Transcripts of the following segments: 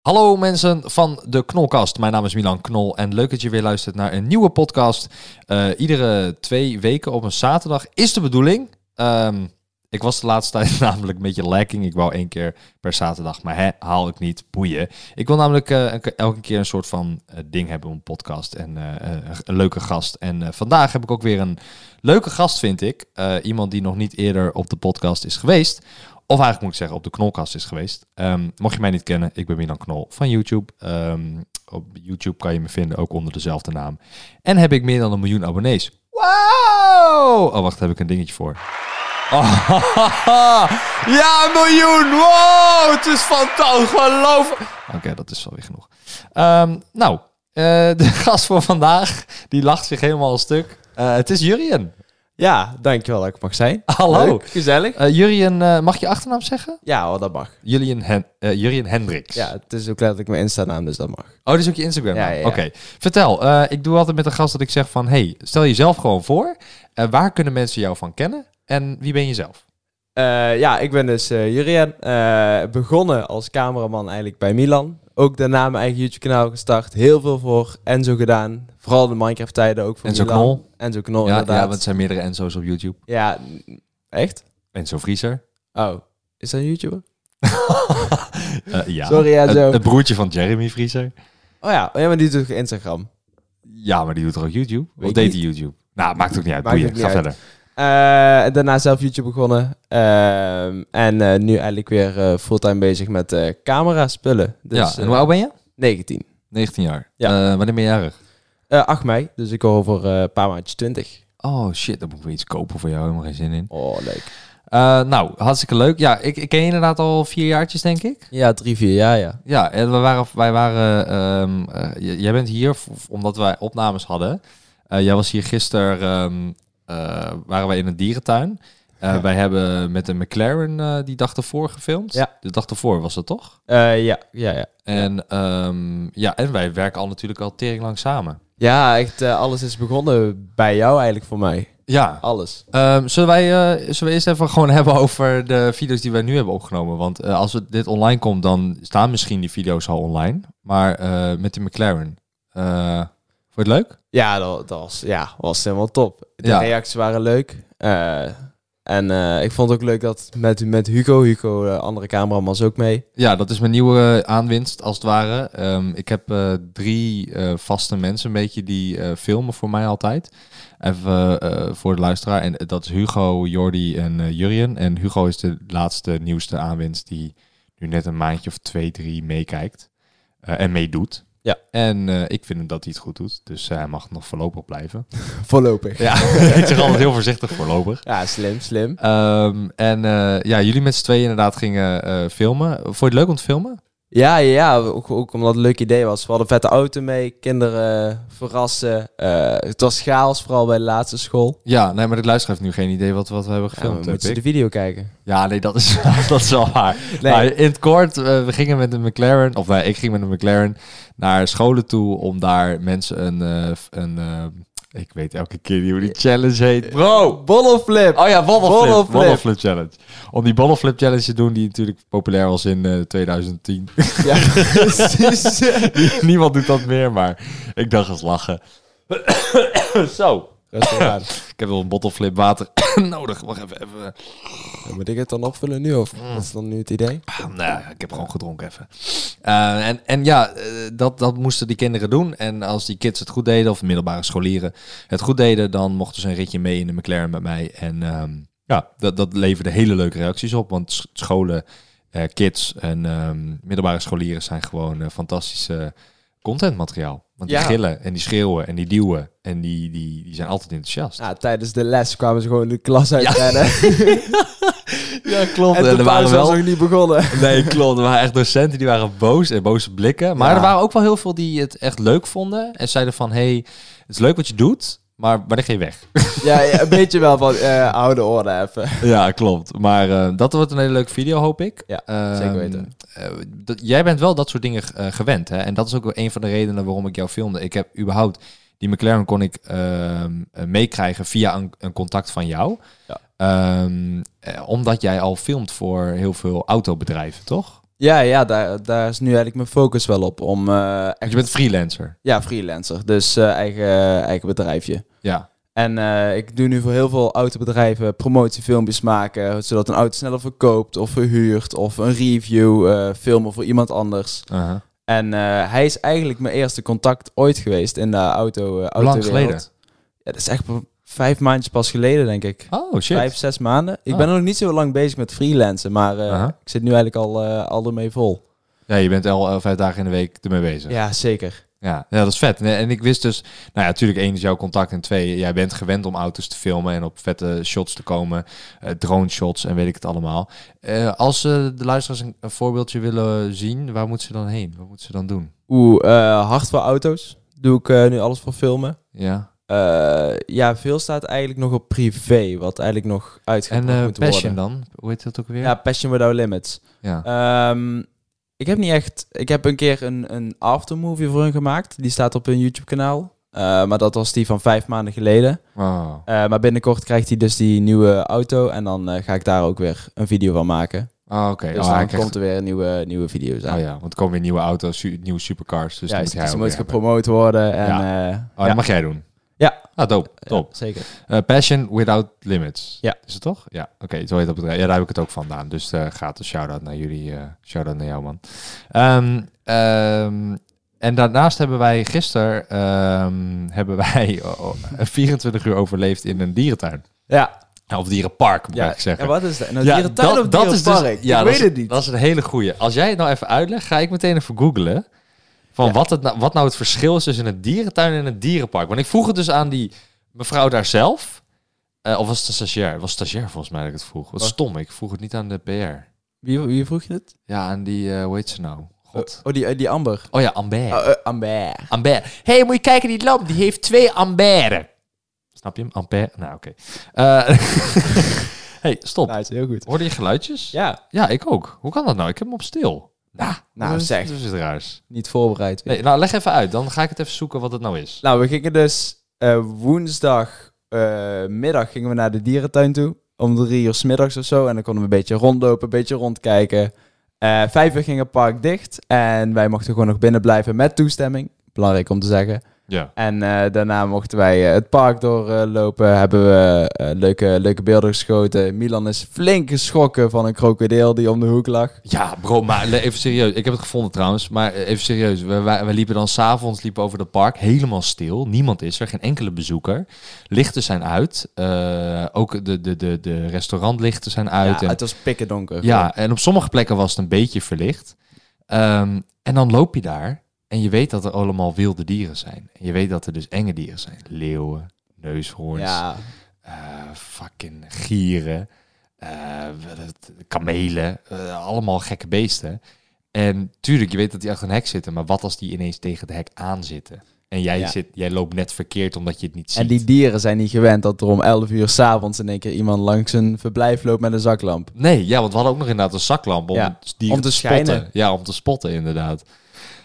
Hallo mensen van de Knolkast. Mijn naam is Milan Knol en leuk dat je weer luistert naar een nieuwe podcast. Eh, iedere twee weken op een zaterdag is de bedoeling. Ehm, ik was de laatste tijd namelijk een beetje lacking. Ik wou één keer per zaterdag, maar hè, haal ik niet, boeien. Ik wil namelijk eh, elke- elke keer een soort van eh, ding hebben op een podcast en eh, eh, een leuke gast. En eh, vandaag heb ik ook weer een leuke gast, vind ik. Eh, iemand die nog niet eerder op de podcast is geweest. Of eigenlijk moet ik zeggen, op de Knolkast is geweest. Ehm, mocht je mij niet kennen, ik ben Milan Knol van YouTube. Ehm, op YouTube kan je me vinden, ook onder dezelfde naam. En heb ik meer dan een miljoen abonnees. Wow! Oh, wacht, daar heb ik een dingetje voor. Oh, ja, een miljoen! Wow! Het is fantastisch, geloof Oké, dat is wel weer genoeg. Ehm, nou, eh, de gast voor vandaag, die lacht zich helemaal een stuk. Eh, het is Jurien. Ja, Ah, dankjewel dat ik mag zijn. Hallo. Leuk, gezellig. Eh Jurien, eh, mag je achternaam zeggen? Ja, oh, dat mag. Jurien, Hen eh, Jurien Hendricks. Ja, het is ook letterlijk mijn Insta-naam, dus dat mag. Oh, dit is ook je Instagram. Ja, naam. ja, ja. Oké. Vertel, eh, ik doe altijd met een gast dat ik zeg van... hey, stel jezelf gewoon voor. Eh, waar kunnen mensen jou van kennen? En wie ben je zelf? Eh, ja, ik ben dus eh Jurien. eh, begonnen als cameraman eigenlijk bij Milan. Ook daarna mijn eigen YouTube-kanaal gestart. Heel veel voor Enzo gedaan. Vooral de Minecraft-tijden ook voor Enzo Milan. Knol. Enzo Knol, ja, ja, Oh, inderdaad. want er zijn meerdere Enzo's op YouTube. Ja, n- echt? Enzo Vriezer. Oh, is dat een YouTuber? Eh, ja. Sorry, Enzo. Het, het broertje van Jeremy Vriezer. Oh ja, oh, ja maar die doet ook Instagram. Ja, maar die doet toch ook YouTube? Weet of ik deed niet. hij YouTube? Nou, maakt ook niet uit. Maakt Boeien, ook niet ga uit. verder. Eh, en daarna zelf YouTube begonnen. Ehm, en eh, nu eigenlijk weer eh, fulltime bezig met eh camera-spullen. Dus, ja, eh, en hoe oud ben je? 19. 19 jaar. Ja. Eh, wanneer ben je jarig? Eh, 8 mei, dus ik hoor over eh, een paar maandjes 20. Oh shit, dan moet ik weer iets kopen voor jou. Helemaal geen zin in. Oh, leuk. Eh, nou, hartstikke leuk. Ja, ik, ik ken je inderdaad al vier jaartjes, denk ik. Ja, drie, vier jaar, ja. Ja, en we waren, wij waren. ehm, eh, j- jij bent hier v- omdat wij opnames hadden. Eh, jij was hier gisteren. ehm, eh, waren wij in een dierentuin. Eh, Wij hebben met een McLaren eh, die dag ervoor gefilmd. Ja. De dag ervoor was dat toch? Eh, ja, ja, ja. En, ehm, ja, en wij werken al natuurlijk al tering lang samen. Ja, echt, eh, alles is begonnen bij jou eigenlijk voor mij. Ja. Alles. Ehm, zullen, wij, eh, zullen we eerst even gewoon hebben over de video's die wij nu hebben opgenomen? Want eh, als het dit online komt, dan staan misschien die video's al online. Maar eh, met de McLaren. Eh vond je het leuk? Ja, dat, dat was, ja, was helemaal top. De Ja. reacties waren leuk. Eh, en eh, ik vond het ook leuk dat met, met Hugo, Hugo, de andere cameraman, was ook mee. Ja, dat is mijn nieuwe eh, aanwinst, als het ware. Ehm, ik heb eh, drie eh, vaste mensen, een beetje, die eh, filmen voor mij altijd. Even eh, eh, voor de luisteraar. En dat is Hugo, Jordi en eh, Jurjen. En Hugo is de laatste, nieuwste aanwinst die nu net een maandje of twee, drie meekijkt. eh, en meedoet. Ja. En eh, ik vind hem dat hij het goed doet. Dus eh, hij mag nog voorlopig blijven. Voorlopig. Ja, ik zeg altijd heel voorzichtig voorlopig. Ja, slim, slim. Ehm, en eh, ja, jullie met z'n tweeën inderdaad gingen eh, filmen. Vond je het leuk om te filmen? Ja, ja, ja. Ook, ook omdat het een leuk idee was. We hadden vette auto mee, kinderen eh, verrassen. Eh, het was chaos, vooral bij de laatste school. Ja, nee, maar de luisteraar heeft nu geen idee wat, wat we hebben Ja, maar gefilmd. moeten heb ze de ik. video kijken. Ja, nee, dat is, dat is wel waar. Nee. Maar in het kort, eh, we gingen met een McLaren, of nee, ik ging met een McLaren naar scholen toe om daar mensen een, eh, f- een eh, ik weet elke keer niet hoe die challenge heet. Bro, bollenflip. Oh ja, Wobbleflip. Wobbleflip. Wobbleflip Challenge. Om die Wobbleflip Challenge te doen, die natuurlijk populair was in eh, 2010. Ja, precies. Niemand doet dat meer, maar ik dacht eens lachen. Zo. Rustig aan. Ik heb wel een bottleflip water nodig. Wacht even. even. Dan moet ik het dan opvullen nu? Of wat is dan nu het idee? Ah, nou, ik heb gewoon gedronken even. Eh, en, en ja, eh, dat, dat moesten die kinderen doen. En als die kids het goed deden, of middelbare scholieren het goed deden, dan mochten ze een ritje mee in de McLaren met mij. En ehm, ja, dat, dat leverde hele leuke reacties op. Want sch- scholen, eh, kids en ehm, middelbare scholieren zijn gewoon eh, fantastische contentmateriaal. Want Ja. die gillen en die schreeuwen en die duwen. En die, die, die zijn altijd enthousiast. Ja, tijdens de les kwamen ze gewoon de klas uitrennen. Ja, klopt. en de pauze was nog niet begonnen. Nee, klopt. Er waren echt docenten die waren boos en boze blikken. Maar Ja. er waren ook wel heel veel die het echt leuk vonden. En zeiden van, hey, het is leuk wat je doet, maar wanneer ga je weg? Ja, ja, een beetje wel van, eh hou de orde even. ja, klopt. Maar eh, dat wordt een hele leuke video, hoop ik. Ja, Ehm, zeker weten. eh, dat- jij bent wel dat soort dingen eh, gewend, hè? En dat is ook wel een van de redenen waarom ik jou filmde. Ik heb überhaupt... Die McLaren kon ik ehm, eh, meekrijgen via een, een contact van jou. Ja. Ehm, eh, omdat jij al filmt voor heel veel autobedrijven, toch? Ja, ja daar, daar is nu eigenlijk mijn focus wel op. Om, eh, Want echt, je bent freelancer. Ja, freelancer. Dus eh, eigen, eigen bedrijfje. Ja. En eh, ik doe nu voor heel veel autobedrijven promotiefilmpjes maken. Zodat een auto sneller verkoopt of verhuurt. Of een review eh, filmen voor iemand anders. Uh-huh. En eh, hij is eigenlijk mijn eerste contact ooit geweest in de auto, eh Hoe lang autowereld. geleden? Ja, dat is echt vijf maandjes pas geleden, denk ik. Oh shit. Vijf, zes maanden. Ik Ah. ben nog niet zo lang bezig met freelancen, maar eh, Aha. ik zit nu eigenlijk al, eh al ermee vol. Ja, je bent al eh, vijf dagen in de week ermee bezig. Ja. Ja, zeker. Ja. dat is vet. En, en ik wist dus, nou ja, natuurlijk één is jouw contact en twee, jij bent gewend om auto's te filmen en op vette shots te komen, eh drone shots en weet ik het allemaal. Eh, als eh, de luisteraars een, een voorbeeldje willen zien, waar moeten ze dan heen? Wat moeten ze dan doen? Oeh, eh, hard voor auto's. Doe ik eh, nu alles voor filmen. Ja. Eh, ja, veel staat eigenlijk nog op privé, wat eigenlijk nog En uitgebracht eh, moet Passion worden. dan? Hoe heet dat ook weer? Ja, Passion Without Limits. ja. Ehm, ik heb niet echt. Ik heb een keer een, een aftermovie voor hun gemaakt. Die staat op hun YouTube-kanaal. Eh, maar dat was die van vijf maanden geleden. Wow. Eh, maar binnenkort krijgt hij dus die nieuwe auto. En dan eh, ga ik daar ook weer een video van maken. Ah, oké. Dus Oh, dan hij krijgt- komt er weer nieuwe, nieuwe video's aan. oh ja, want er komen weer nieuwe auto's, su- nieuwe supercars. Dus Ja, ja, moet dus jij die ook moet weer hebben. gepromoot worden. En, Ja. eh, Oh, ja. dat mag jij doen. Ja. Ah, dope. Top. Ja, zeker. Eh, Passion Without Limits. Ja. Is het toch? Ja, oké. zo heet dat bedrijf. Ja, daar heb ik het ook vandaan. Dus eh gratis shout-out naar jullie. eh shout-out naar jou, man. Ehm, ehm, en daarnaast hebben wij gisteren ehm, hebben wij oh, oh, 24 uur overleefd in een dierentuin. Ja, Nou, Of dierenpark, moet ik ja. eigenlijk zeggen. En wat is dat? Nou, Ja, dierentuin of dierenpark? Dus, ja, dat ik weet is, het niet. Dat is een hele goeie. Als jij het nou even uitlegt, ga ik meteen even googlen. Van Ja. wat, het nou, wat nou het verschil is tussen een dierentuin en een dierenpark. Want ik vroeg het dus aan die mevrouw daar zelf. Eh, of was het een stagiair? Het was stagiair volgens mij dat ik het vroeg. Wat Wat? stom, ik vroeg het niet aan de PR. Wie, wie vroeg je het? Ja, aan die, eh, hoe heet ze nou? God. Oh, die, eh, die Amber. Oh ja, Amber. Oh, eh, Amber. Amber. Hé, hey, moet je kijken, die lamp, die heeft twee amberen. Snap je hem? Amber? Nou, oké. Eh, hey, stop. Nou, is heel goed. Hoorde je geluidjes? Ja, Ja, ik ook. Hoe kan dat nou? Ik heb hem op stil. Nou, Nou, dat is- zeg. Dat is het raars. niet voorbereid. Nee, nou, leg even uit. Dan ga ik het even zoeken wat het nou is. Nou, we gingen dus eh, woensdag woensdagmiddag gingen we naar de dierentuin toe. Om drie uur 's middags of zo. En dan konden we een beetje rondlopen, een beetje rondkijken. Eh, vijf uur ging het park dicht. En wij mochten gewoon nog binnen blijven met toestemming. Belangrijk om te zeggen. Ja. En eh, daarna mochten wij eh, het park doorlopen. hebben we eh, leuke, leuke beelden geschoten. Milan is flink geschrokken van een krokodil die om de hoek lag. Ja, bro, maar le- even serieus. Ik heb het gevonden trouwens, maar eh, even serieus. We, wij- we liepen dan s'avonds liepen over het park, helemaal stil. Niemand is er, geen enkele bezoeker. Lichten zijn uit. Eh, ook de, de, de, de restaurantlichten zijn uit. ja, en, het was pikken donker. ja, en op sommige plekken was het een beetje verlicht. Ehm, en dan loop je daar en je weet dat er allemaal wilde dieren zijn. En je weet dat er dus enge dieren zijn. Leeuwen, neushoorns, Ja, eh, fucking gieren, eh, wat- kamelen, eh, allemaal gekke beesten. En tuurlijk, je weet dat die achter een hek zitten, maar wat als die ineens tegen de hek aan zitten? En jij, Ja. zit, jij loopt net verkeerd omdat je het niet ziet. En die dieren zijn niet gewend dat er om 11 uur s'avonds in één keer iemand langs een verblijf loopt met een zaklamp. Nee, ja, want we hadden ook nog inderdaad een zaklamp om, Ja, dieren om te spotten. schijnen. Ja, om te spotten inderdaad.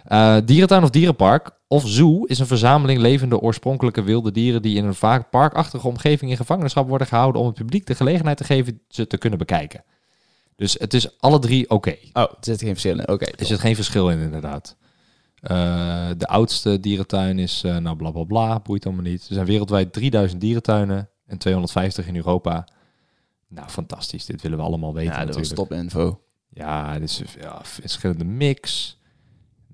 Eh, dierentuin of dierenpark of zoo is een verzameling levende oorspronkelijke wilde dieren die in een vaak parkachtige omgeving in gevangenschap worden gehouden om het publiek de gelegenheid te geven ze te kunnen bekijken. Dus het is alle drie oké. Oh, er zit geen verschil in. Oké. Er zit geen verschil in inderdaad. Eh, Eh, de oudste dierentuin is, eh, nou bla bla bla, boeit allemaal niet. Er zijn wereldwijd 3000 dierentuinen en 250 in Europa. Nou, fantastisch. Dit willen we allemaal weten Ja, dat was natuurlijk. top info. Ja, dit is ja, verschillende mix.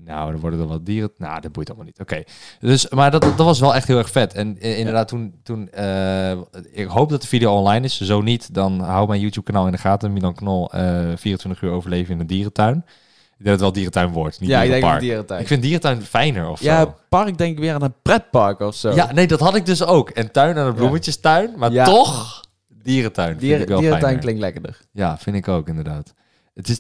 Nou, er worden er wat dieren. Nou, dat boeit allemaal niet. Oké. Dus, maar dat, dat was wel echt heel erg vet. En eh, inderdaad, toen. toen eh, ik hoop dat de video online is. Zo niet, dan hou mijn YouTube-kanaal in de gaten. Milan Knol, eh, 24 uur overleven in een dierentuin. Ik denk dat het wel dierentuin wordt. Niet Ja, ik denk dierenpark. een dierentuin. Ik vind dierentuin fijner of ja, zo. park denk ik weer aan een pretpark of zo. Ja, nee, dat had ik dus ook. En tuin aan de bloemetjestuin. Maar Ja. toch, dierentuin. vind Dier, ik wel dierentuin fijner. klinkt lekkerder. Ja, vind ik ook inderdaad. Het is.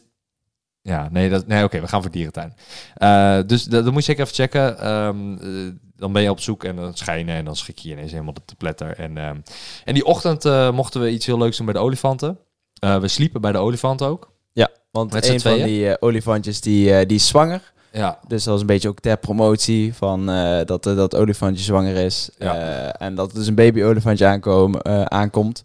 Ja, nee, dat, nee oké, we gaan voor dierentuin. Eh, dus dat, dat moet je zeker even checken. Ehm, eh, dan ben je op zoek en dan schijnen en dan schrik je je ineens helemaal de pletter. En, ehm, en die ochtend eh, mochten we iets heel leuks doen bij de olifanten. Eh, we sliepen bij de olifant ook. Ja, want Met z'n een van tweeën? die eh, olifantjes die, eh, die is zwanger. Ja, Dus dat was een beetje ook ter promotie van eh, dat, eh, dat olifantje zwanger is. Ja. Eh, en dat er dus een baby olifantje aankomen, eh, aankomt.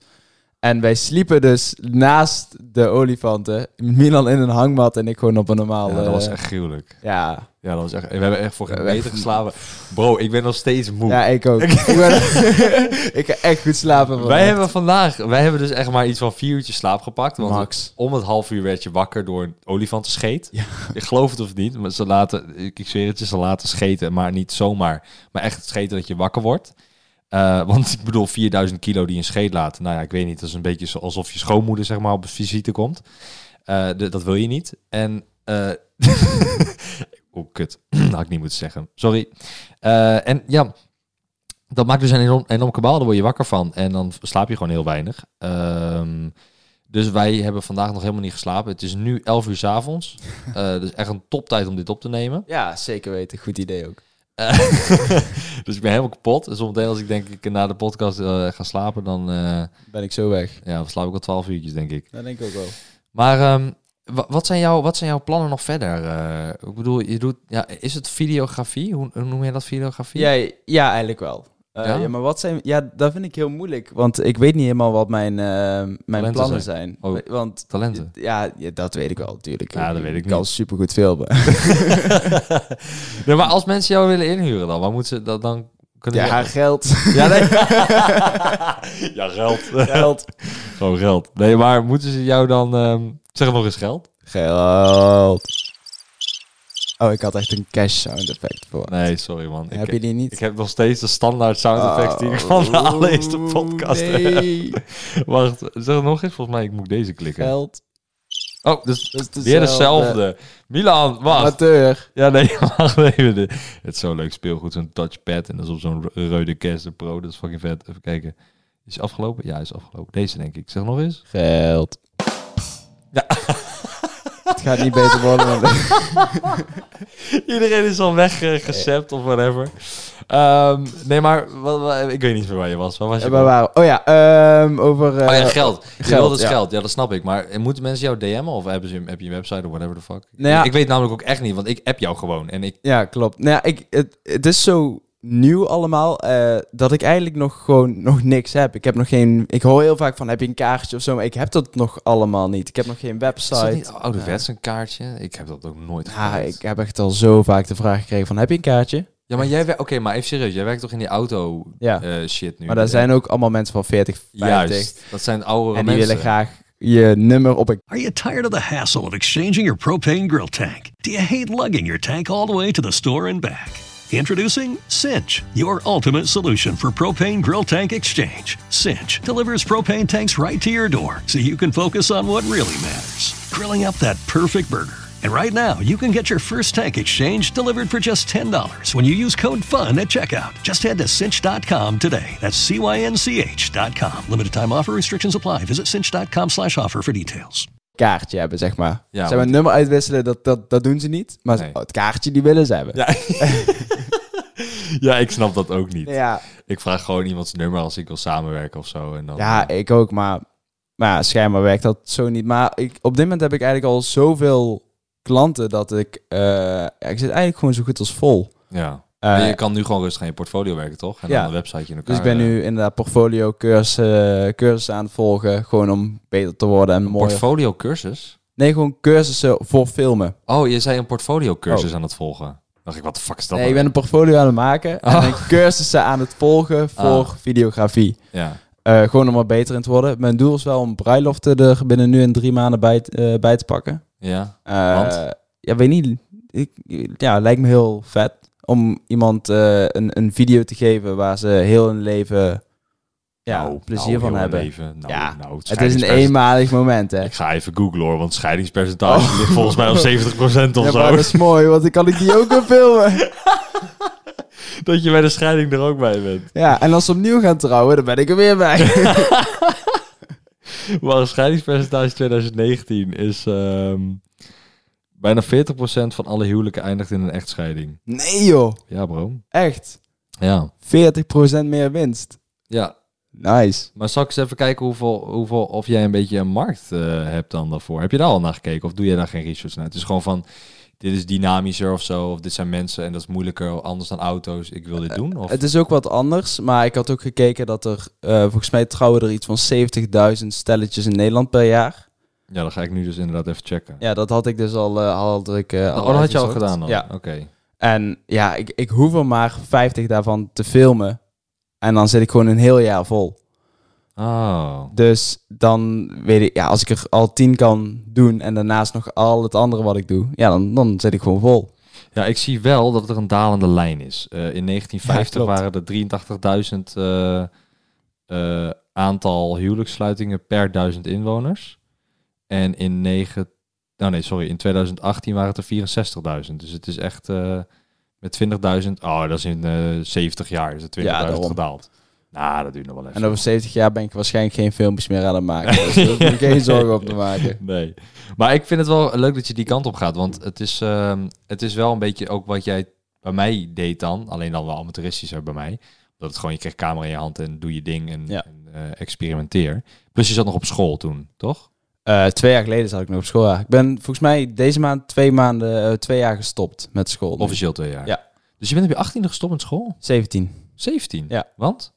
En wij sliepen dus naast de olifanten. Milan in een hangmat en ik gewoon op een normaal... ja, dat was eh, echt gruwelijk. ja. Ja, dat was echt, we hebben echt voor een hebben meter echt- geslapen. Bro, ik ben nog steeds moe. ja, ik ook. ik, ben- ik ga echt goed slapen vannacht. Wij hebben vandaag, wij hebben dus echt maar iets van vier uurtjes slaap gepakt. Want Max. om het half uur werd je wakker door een olifantenscheet. Ja. Ik geloof het of niet, maar ze laten, ik ik zweer het je, ze laten scheten. Maar niet zomaar, maar echt het scheten dat je wakker wordt. Eh, want ik bedoel, 4000 kilo die een scheet laat. Nou ja, ik weet niet, dat is een beetje zo alsof je schoonmoeder zeg maar op visite komt. Eh, de- dat wil je niet. En, eh oh kut, dat had ik niet moeten zeggen. Sorry. Eh, en ja, dat maakt dus een enorm, enorm kabaal. Daar word je wakker van. En dan slaap je gewoon heel weinig. Ehm, dus wij hebben vandaag nog helemaal niet geslapen. Het is nu 11 uur s avonds. Eh dus echt een toptijd om dit op te nemen. Ja, zeker weten. Goed idee ook. Eh, dus ik ben helemaal kapot. En Zometeen als ik denk ik na de podcast eh, ga slapen, dan eh, Ben ik zo weg. ja, dan slaap ik al 12 uurtjes, denk ik. Dat denk ik ook wel. Maar ehm, wa- wat, zijn jouw, wat zijn jouw plannen nog verder? Eh, ik bedoel, je doet, ja, is het videografie? Hoe, hoe noem je dat videografie? Ja, ja eigenlijk wel. Eh, Ja? ja? maar wat zijn... Ja, dat vind ik heel moeilijk. Want ik weet niet helemaal wat mijn, eh, mijn Talenten plannen zijn. zijn. Oh. Want Talenten. Ja, ja, dat weet ik wel natuurlijk. Ja, dat weet ik Ik kan niet. supergoed filmen. Nee, maar als mensen jou willen inhuren dan, waar moeten ze dat dan kunnen Ja, ze- geld. Ja, nee. ja, geld. geld. Gewoon Oh, geld. Nee, maar moeten ze jou dan... ehm, zeg nog eens geld? Geld. Oh, ik had echt een cash sound effect voor. Nee, sorry man. Heb ik, je die niet? ik heb nog steeds de standaard sound effects die ik van de Oh, allereerste podcast heb. Nee. Wacht, zeg nog eens. Volgens mij, ik moet deze klikken. Geld. Oh, dus Dat is weer dezelfde. Milan, wacht. Amateur. Ja, nee, wacht even. De- Het is zo'n leuk speelgoed, zo'n touchpad. En dat is op zo'n rode Kester Pro. Dat is fucking vet. Even kijken. Is hij afgelopen? Ja, is afgelopen. Deze denk ik. Zeg nog eens. Geld. Ja. Het gaat niet beter worden. want- Iedereen is al weggecept of whatever. Ehm, nee, maar wat, wat- ik weet niet meer waar je was. Waar was je? nou? Ja, maar waar- Oh ja, ehm, over... oh ja, eh, geld. Je geld, wilt dus ja. geld. Ja, dat snap ik. Maar moeten mensen jou DM'en of hebben ze, heb je een website of whatever the fuck? Nou ja. Ik weet namelijk ook echt niet, want ik app jou gewoon. En ik... Ja, klopt. Nou ja, ik, het, het is zo nieuw allemaal eh, dat ik eigenlijk nog gewoon nog niks heb. Ik heb nog geen. Ik hoor heel vaak van heb je een kaartje of zo, maar ik heb dat nog allemaal niet. Ik heb nog geen Is dat website. niet ouderwets een kaartje? Ik heb dat ook nooit Ja, gedaan. ik heb echt al zo vaak de vraag gekregen van heb je een kaartje? Ja, maar jij werkt... Oké, maar even serieus. Jij werkt toch in die auto Ja. eh, shit nu? maar daar zijn ook allemaal mensen van 40, 50 Juist. Dat zijn oudere en die mensen. willen graag je nummer op een Are you tired of the hassle of exchanging your propane grill tank? Do you hate lugging your tank all the way to the store and back? Introducing Cinch, your ultimate solution for propane grill tank exchange. Cinch delivers propane tanks right to your door so you can focus on what really matters grilling up that perfect burger. And right now, you can get your first tank exchange delivered for just $10 when you use code FUN at checkout. Just head to cinch.com today. That's C-Y-N-C-H.com. Limited time offer restrictions apply. Visit cinch.com slash offer for details. kaartje hebben, zeg maar. Ja, zeg maar want- een nummer uitwisselen, dat, dat, dat doen ze niet. Maar Nee. het kaartje die willen ze hebben. Ja. ja, ik snap dat ook niet. ja. Ik vraag gewoon iemands nummer als ik wil samenwerken of zo. En dan, Ja, ik ook, maar, maar ja, schijnbaar werkt dat zo niet. Maar ik, op dit moment heb ik eigenlijk al zoveel klanten dat ik... eh, ja, ik zit eigenlijk gewoon zo goed als vol. Ja. Eh, Maar je kan nu gewoon rustig aan je portfolio werken, toch? En Ja. dan een website in elkaar. dus ik ben eh, nu inderdaad portfolio cursussen, cursussen aan het volgen. Gewoon om beter te worden en mooier. portfolio cursus. Nee, gewoon cursussen voor filmen. Oh, je zei een portfolio cursus aan het volgen. dacht ik, wat de fuck is dat? Nee, ik nou? ben een portfolio aan het maken en Oh. een cursussen aan het volgen voor Ah. videografie. Ja. Eh, gewoon om er beter in te worden. Mijn doel is wel om bruiloften er binnen nu en drie maanden bij, te- eh, bij te pakken. Ja. Eh, Want? Ja, weet niet. Ik, ja, lijkt me heel vet om iemand eh, een, een video te geven waar ze heel hun leven ja, Nou, plezier nou, van heel hebben. Even. Nou, Ja. nou, Het is een scheidingspercent- eenmalig moment, hè. Ik ga even googlen hoor, want scheidingspercentage ligt volgens mij op 70% of Oh. Ja, zo. maar dat is mooi, want dan kan ik die ook weer filmen. Dat je bij de scheiding er ook bij bent. Ja, en als ze opnieuw gaan trouwen, dan ben ik er weer bij. Maar een scheidingspercentage 2019 is ehm, bijna 40% van alle huwelijken eindigt in een echtscheiding. Nee joh, Ja, bro. echt. Ja. 40% meer winst. Ja. Nice. Maar zal ik eens even kijken hoeveel, hoeveel, of jij een beetje een markt eh, hebt dan daarvoor? Heb je daar al naar gekeken of doe je daar geen research naar? Het is gewoon van, dit is dynamischer of zo, of dit zijn mensen en dat is moeilijker, anders dan auto's, ik wil dit doen. Of... Eh, Het is ook wat anders, maar ik had ook gekeken dat er... eh, volgens mij trouwen er iets van 70.000 stelletjes in Nederland per jaar. Ja, dat ga ik nu dus inderdaad even checken. Ja, dat had ik dus al... eh, had ik, eh, oh, dat had je al uitgezocht. gedaan dan? Ja. Oké. En ja, ik, ik hoef er maar 50 daarvan te filmen. En dan zit ik gewoon een heel jaar vol. Oh. Dus dan weet ik, ja, als ik er al 10 kan doen en daarnaast nog al het andere wat ik doe, ja, dan, dan zit ik gewoon vol. Ja, ik zie wel dat er een dalende lijn is. Eh, in 1950 Ja, waren er 83.000 eh, eh, aantal huwelijkssluitingen per duizend inwoners. En in, negen, nou nee, sorry, in 2018 waren het er 64.000. Dus het is echt eh, met 20.000... Oh, dat is in eh 70 jaar is het 20.000 Ja, daarom. gedaald. Nou, dat duurt nog wel even. En over 70 jaar ben ik waarschijnlijk geen filmpjes meer aan het maken. Dus daar hoef ik me geen zorgen op te maken. Nee. Maar ik vind het wel leuk dat je die kant op gaat. Want het is, ehm, het is wel een beetje ook wat jij bij mij deed dan. Alleen dan wel amateuristischer bij mij. Dat het gewoon, je krijgt camera in je hand en doe je ding en, Ja. en, eh, experimenteer. Plus je zat nog op school toen, toch? Eh, twee jaar geleden zat ik nog op school. ja. Ik ben volgens mij deze maand twee maanden, eh, twee jaar gestopt met school. nu. Officieel twee jaar. Ja. Dus je bent op je 18e gestopt met school? 17. 17? Ja. Want?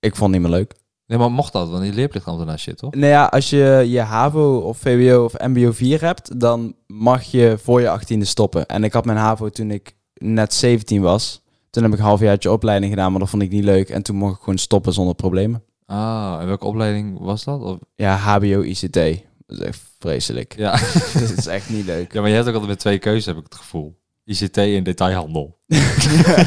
Ik vond het niet meer leuk. Nee, maar mocht dat? Want die leerplichtambtenaar shit, toch? Nou ja, als je je HAVO of VWO of MBO 4 hebt, dan mag je voor je 18e stoppen. En ik had mijn HAVO toen ik net 17 was. Toen heb ik een halfjaartje opleiding gedaan, maar dat vond ik niet leuk. En toen mocht ik gewoon stoppen zonder problemen. Ah, en welke opleiding was dat? Of, Ja, HBO ICT. Dat is echt vreselijk. ja. Dat is echt niet leuk. ja, maar je hebt ook altijd met twee keuzes, heb ik het gevoel. ICT en detailhandel.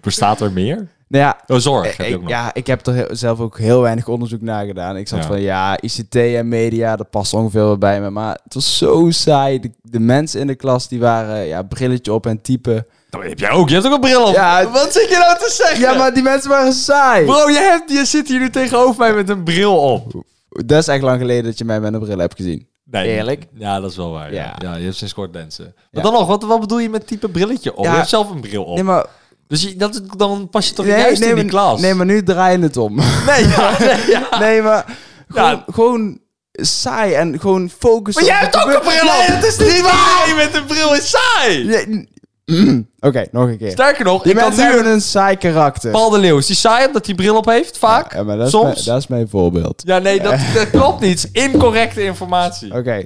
Bestaat er meer? Nou ja, Oh, zorg heb je ook ik, nog. ja, ik heb er heel- zelf ook heel weinig onderzoek naar gedaan. Ik zat Ja. van, ja, ICT en media, dat past ongeveer wel bij me. Maar het was zo saai. De, de mensen in de klas, die waren, ja, brilletje op en typen. Nou, heb jij ook. Je hebt ook een bril op. Ja, Oh, Wat zit je nou te zeggen? Ja, maar die mensen waren saai. Bro, je, hebt, je zit hier nu tegenover mij met een bril op. Dat is echt lang geleden dat je mij met een bril hebt gezien. Nee, Eerlijk? Ja, dat is wel waar. Ja, Ja. ja. je hebt sinds kort lenzen. Maar Ja. dan nog, wat, wat bedoel je met type brilletje op? Ja. Je hebt zelf een bril op. Nee, maar, Dus je, dat, dan pas je toch nee, juist nee, in die maar- klas? nee, maar nu draai je het om. Nee, ja, nee, ja. nee, maar gewoon, Ja. gewoon saai en gewoon focus Maar op jij hebt wat er ook een gebeurt. bril op! Nee, dat is niet Dit waar! idee met een bril is saai! Nee, n- mm. Oké, nog een keer. Sterker nog, Die ik kan mensen nu... hebben een saai karakter. Paul de Leeuw, is die saai omdat hij bril op heeft, vaak? Ja, maar dat is, Soms? Mijn, dat is mijn voorbeeld. Ja, nee, dat, dat klopt niet. Incorrecte informatie. Oké,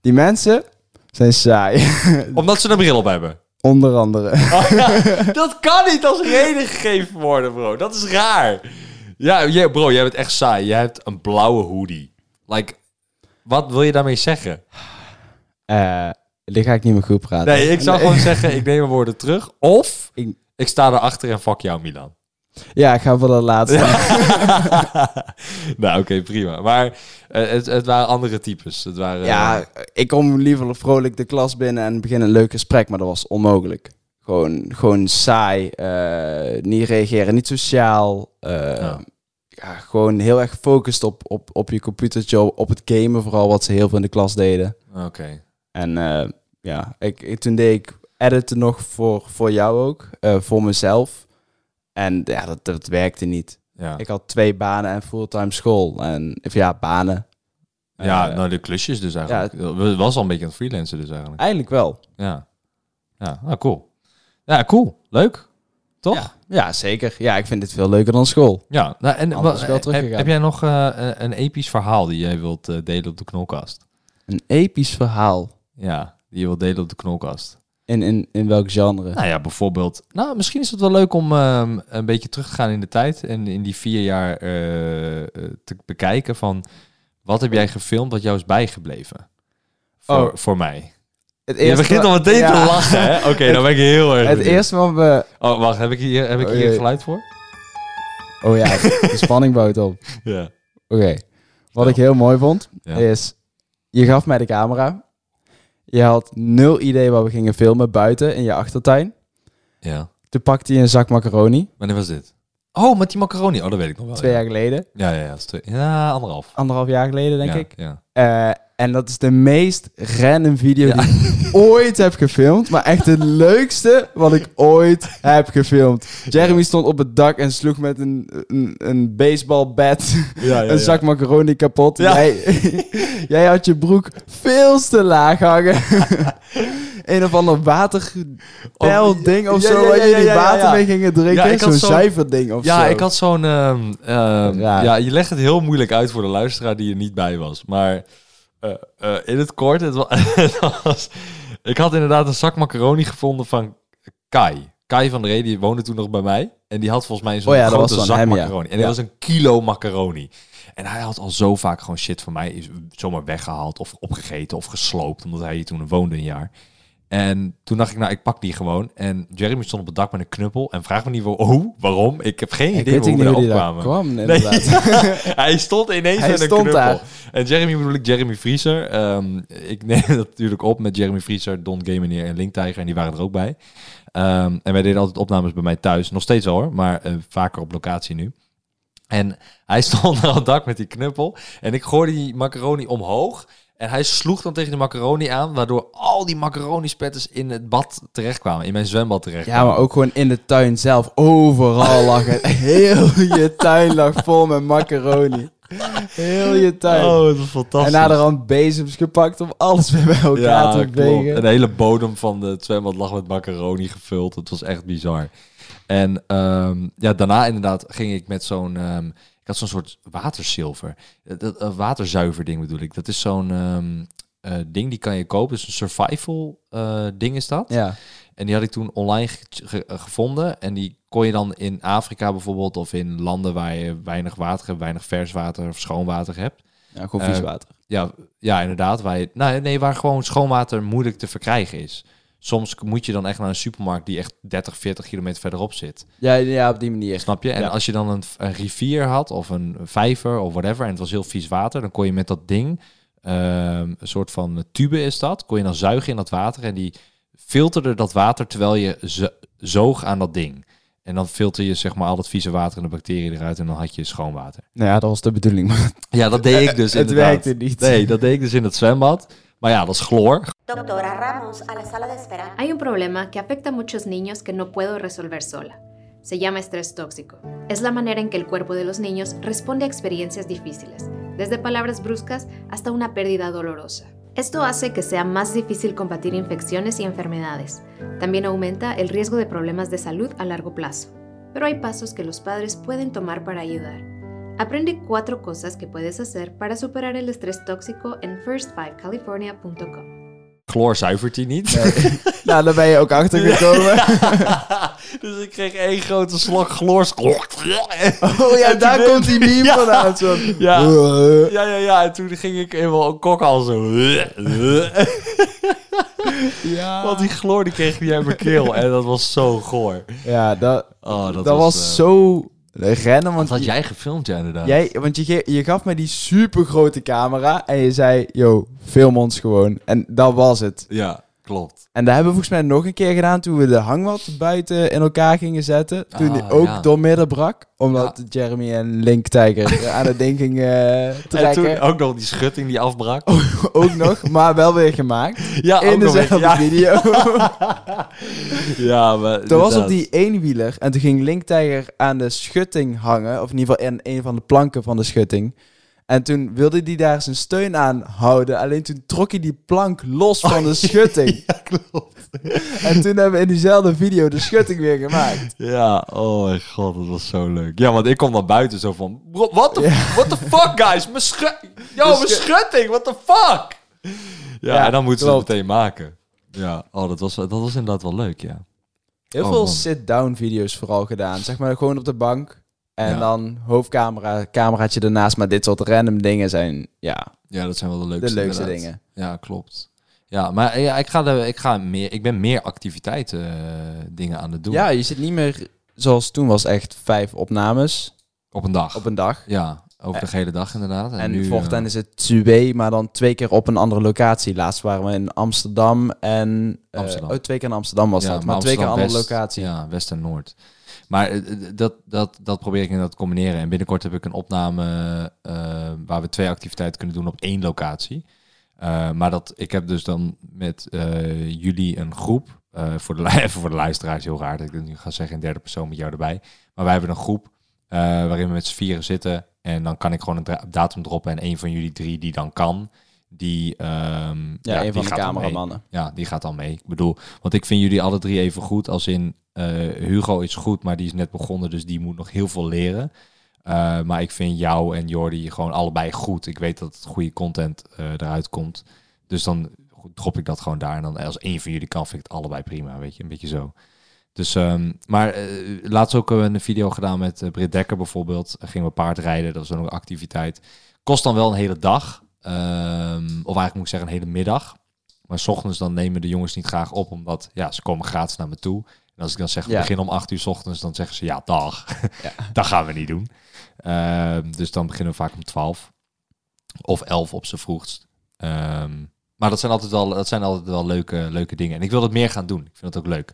die mensen zijn saai. Omdat ze een bril op hebben. Onder andere. Ah. Dat kan niet als reden gegeven worden, bro. Dat is raar. Ja, jij- bro, jij bent echt saai. Jij hebt een blauwe hoodie. Like, wat wil je daarmee zeggen? Eh, dit ga ik niet meer goed praten. Nee, ik zou gewoon zeggen, ik neem mijn woorden terug. Of, Ik- ik sta erachter en fuck jou, Milan. Ja, ik ga voor dat laatste. nou, oké, prima. Maar eh, het, het waren andere types. Het waren... eh, Ja, ik kom liever vrolijk de klas binnen en begin een leuk gesprek, maar dat was onmogelijk. Gewoon, gewoon saai, eh, niet reageren, niet sociaal. eh, Ja. ja. gewoon heel erg gefocust op, op, op je computertje, op, op het gamen vooral, wat ze heel veel in de klas deden. Oké. En eh, ja, ik, ik- toen deed ik editen nog voor, voor jou ook, eh, voor mezelf. En ja, dat, dat werkte niet. Ja, Ik had twee banen en fulltime school. En, of ja, banen. ja Eh, nou, de klusjes dus eigenlijk. Het was al een beetje een freelancer dus eigenlijk. Eigenlijk wel. Ja. Ja, nou cool. Ja, cool. Leuk. Toch? Ja. Ja, ja, zeker. Ja, ik vind dit veel leuker dan school. nou, en Anders wa- wel heb, teruggegaan. heb jij nog eh, een- een episch verhaal die jij wilt eh, delen op de knolkast? Een episch verhaal. Ja, die je wilt delen op de knolkast. In, in, in welk genre? Nou ja, bijvoorbeeld. Nou, misschien is het wel leuk om ehm, een beetje terug te gaan in de tijd. En in die vier jaar eh, eh, te bekijken van wat heb jij gefilmd wat jou is bijgebleven? Voor, Oh. voor mij. Het Je begint wa- al meteen Ja. te lachen, hè? Oké, dan ben ik heel erg. Het benieuwd. eerste wat we... Oh, wacht, heb ik hier, heb ik Oh, hier jee. geluid voor? Oh ja, de spanning bouwt op. Oké. Ja. Wat ik heel mooi vond, Ja. is... Je gaf mij de camera. Je had nul idee waar we gingen filmen buiten in je achtertuin. ja. Toen pakte je een zak macaroni. Wanneer was dit? Oh, met die macaroni. Oh, dat weet ik nog wel. twee ja. jaar geleden. Ja, ja, ja. dat is twee- ja anderhalf. Anderhalf jaar geleden, denk Ja, ik. Ja. Eh, en dat is de meest random video Ja. die ik ooit heb gefilmd. Maar echt de leukste wat ik ooit heb gefilmd. Jeremy stond op het dak en sloeg met een, een, een baseballbat Ja, ja, een zak macaroni kapot. Ja. Jij, jij had je broek veel te laag hangen. een of ander waterpeil ding of Oh, Ja, zo ja, waar ja, jullie ja, ja, water ja. mee gingen drinken. Ja, ik had Zo'n zo'n- zuiverding of zo. Ja, ik had zo'n... ehm, ehm, Ja. ja, je legt het heel moeilijk uit voor de luisteraar die er niet bij was. Maar eh, eh, in het kort, het wa- het was... Ik had inderdaad een zak macaroni gevonden van Kai. Kai van der Ree, die woonde toen nog bij mij. En die had volgens mij zo'n Oh ja, dat grote was van zak hem, ja. macaroni. En dat Ja. was een kilo macaroni. En hij had al zo vaak gewoon shit van mij zomaar weggehaald of opgegeten of gesloopt. Omdat hij hier toen woonde een jaar. En toen dacht ik, nou, ik pak die gewoon. En Jeremy stond op het dak met een knuppel. En vraag me niet waar- hoe, waarom. Ik heb geen Ik idee weet hoe niet we hoe die erop daar kwamen. kwam, inderdaad. Hij stond ineens Hij met een stond knuppel. daar. En Jeremy bedoel ik Jeremy Vriezer. Ehm, ik neem dat natuurlijk op met Jeremy Vriezer, Don Gameneer en Link Tiger. En die waren er ook bij. Ehm, en wij deden altijd opnames bij mij thuis. Nog steeds wel hoor, maar eh, vaker op locatie nu. En hij stond aan het dak met die knuppel. En ik gooide die macaroni omhoog. En hij sloeg dan tegen de macaroni aan, waardoor al die macaroni-spetters in het bad terechtkwamen. In mijn zwembad terechtkwamen. Ja, maar ook gewoon in de tuin zelf. Overal lag het. Heel je tuin lag vol met macaroni. Heel je tuin. Oh, dat is fantastisch. en naderhand bezems gepakt om alles weer bij elkaar te klopt. vegen. Een hele bodem van het zwembad lag met macaroni gevuld. Het was echt bizar. En ehm, ja, daarna inderdaad ging ik met zo'n... ehm, ik had zo'n soort watersilver. Eh, Dat, een waterzuiverding bedoel ik. Dat is zo'n ehm, eh, ding die kan je kopen. Dus een survival eh, ding is dat. Ja. En die had ik toen online ge- ge- eh, gevonden. En die kon je dan in Afrika bijvoorbeeld... of in landen waar je weinig water hebt... weinig vers water of schoon water hebt... ja, gewoon Eh, vies water. Ja, ja inderdaad. Waar je, nou, nee, waar gewoon schoonwater moeilijk te verkrijgen is. Soms k- moet je dan echt naar een supermarkt die echt 30, 40 kilometer verderop zit. Ja, ja, op die manier. Snap je? En Ja. als je dan een, v- een rivier had of een vijver of whatever... en het was heel vies water, dan kon je met dat ding... ehm, een soort van tube is dat. Kon je dan zuigen in dat water en die filterde dat water... terwijl je zo- zoog aan dat ding. En dan filter je zeg maar al dat vieze water en de bacteriën eruit... en dan had je schoon water. Nou ja, dat was de bedoeling. Maar Ja, dat deed ik dus het inderdaad. werkte niet. Nee, dat deed ik dus in het zwembad. Maar ja, dat is chloor. Doctora Ramos a la sala de espera. Hay un problema que afecta a muchos niños que no puedo resolver sola. Se llama estrés tóxico. Es la manera en que el cuerpo de los niños responde a experiencias difíciles, desde palabras bruscas hasta una pérdida dolorosa. Esto hace que sea más difícil combatir infecciones y enfermedades. También aumenta el riesgo de problemas de salud a largo plazo. Pero hay pasos que los padres pueden tomar para ayudar. Aprende cuatro cosas que puedes hacer para superar el estrés tóxico en first5california.com. Chloor zuivert hij niet. nou, daar ben je ook achter gekomen. dus ik kreeg één grote slok chloor. Oh ja, En daar toen- komt die meme Ja. vandaan. Zo. Ja. Ja, ja, ja. En toen ging ik helemaal een kok al zo. Ja. Want die chloor die kreeg ik niet uit mijn keel. En dat was zo goor. Ja, dat, Oh, dat dat, was, was, eh, zo rennen. Want je- jij gefilmd, ja, inderdaad. Jij, want je, ge- je gaf mij die super grote camera en je zei, yo, film ons gewoon. En dat was het. Ja, klopt. En dat hebben we volgens mij nog een keer gedaan toen we de hangmat buiten in elkaar gingen zetten. Toen die Ah, ook ja. doormidden brak, omdat Jeremy en Link Tiger aan het ding gingen eh, En trekken. toen ook nog die schutting die afbrak. Oh. Ook nog, maar wel weer gemaakt. ja, in ook nog dezelfde een- ja, video. ja, maar Toen was inderdaad. op die eenwieler en toen ging Link Tiger aan de schutting hangen. Of in ieder geval in een van de planken van de schutting. En toen wilde hij daar zijn steun aan houden. Alleen toen trok hij die plank los van de schutting. Oh, Ja, klopt. En toen hebben we in diezelfde video de schutting weer gemaakt. Ja, oh mijn god, dat was zo leuk. Ja, want ik kom dan buiten zo van... "Bro, What the, what the fuck, guys? Mijn schu- Yo, mijn schutting, what the fuck? Ja, Ja, en dan moeten ze het klopt. meteen maken. Ja, oh, dat, was, dat was inderdaad wel leuk, ja. Heel Oh, veel man. sit-down video's vooral gedaan. Zeg maar gewoon op de bank. En Ja. dan hoofdcamera, cameraatje ernaast. Maar dit soort random dingen zijn ja, Ja, dat zijn wel de de leukste, leukste inderdaad. dingen. Ja, klopt. Ja, maar ja, ik, ga de, ik, ga meer, ik ben meer activiteiten eh, dingen aan het doen Ja, je zit niet meer zoals toen was echt vijf opnames op een dag. op een dag. Ja, over de hele dag inderdaad. En, En nu, voortaan eh, is het twee, maar dan twee keer op een andere locatie. Laatst waren we in Amsterdam en... eh, Amsterdam. oh, twee keer in Amsterdam was ja, dat, maar, twee keer een andere Amsterdam West, locatie. Ja, West en Noord. Maar eh, eh, dat, dat, dat probeer ik inderdaad te combineren. En binnenkort heb ik een opname eh, waar we twee activiteiten kunnen doen op één locatie. Eh, maar dat, ik heb dus dan met eh, jullie een groep. eh, voor de, lu- even voor de luisteraars heel raar dat ik dit nu ga zeggen in derde persoon met jou erbij. Maar wij hebben een groep eh, waarin we met z'n vieren zitten. En dan kan ik gewoon een dra- datum droppen. En een van jullie drie die dan kan, die, ehm, Ja, een die van de gaat dan mee. cameramannen. Ja, die gaat dan mee. Ik bedoel, want ik vind jullie alle drie even goed. Als in eh, Hugo is goed, maar die is net begonnen, dus die moet nog heel veel leren. Eh, maar ik vind jou en Jordi gewoon allebei goed. Ik weet dat het goede content eh, eruit komt. Dus dan drop ik dat gewoon daar. En dan als één van jullie kan, vind ik het allebei prima. Weet je, een beetje zo. Dus, ehm, maar eh, laatst ook hebben we een video gedaan met eh, Britt Dekker bijvoorbeeld. Eh, Gingen we paardrijden, dat was dan ook een activiteit. Kost dan wel een hele dag. ehm, of eigenlijk moet ik zeggen een hele middag. Maar 's ochtends dan nemen de jongens niet graag op, omdat ja, ze komen gratis naar me toe. En als ik dan zeg, we Ja. beginnen om 8 uur 's ochtends, dan zeggen ze ja, dag. dat gaan we niet doen. Ehm, dus dan beginnen we vaak om 12 of 11 op z'n vroegst. Ehm, maar dat zijn altijd wel, dat zijn altijd wel leuke, leuke dingen. En ik wil dat meer gaan doen. Ik vind dat ook leuk.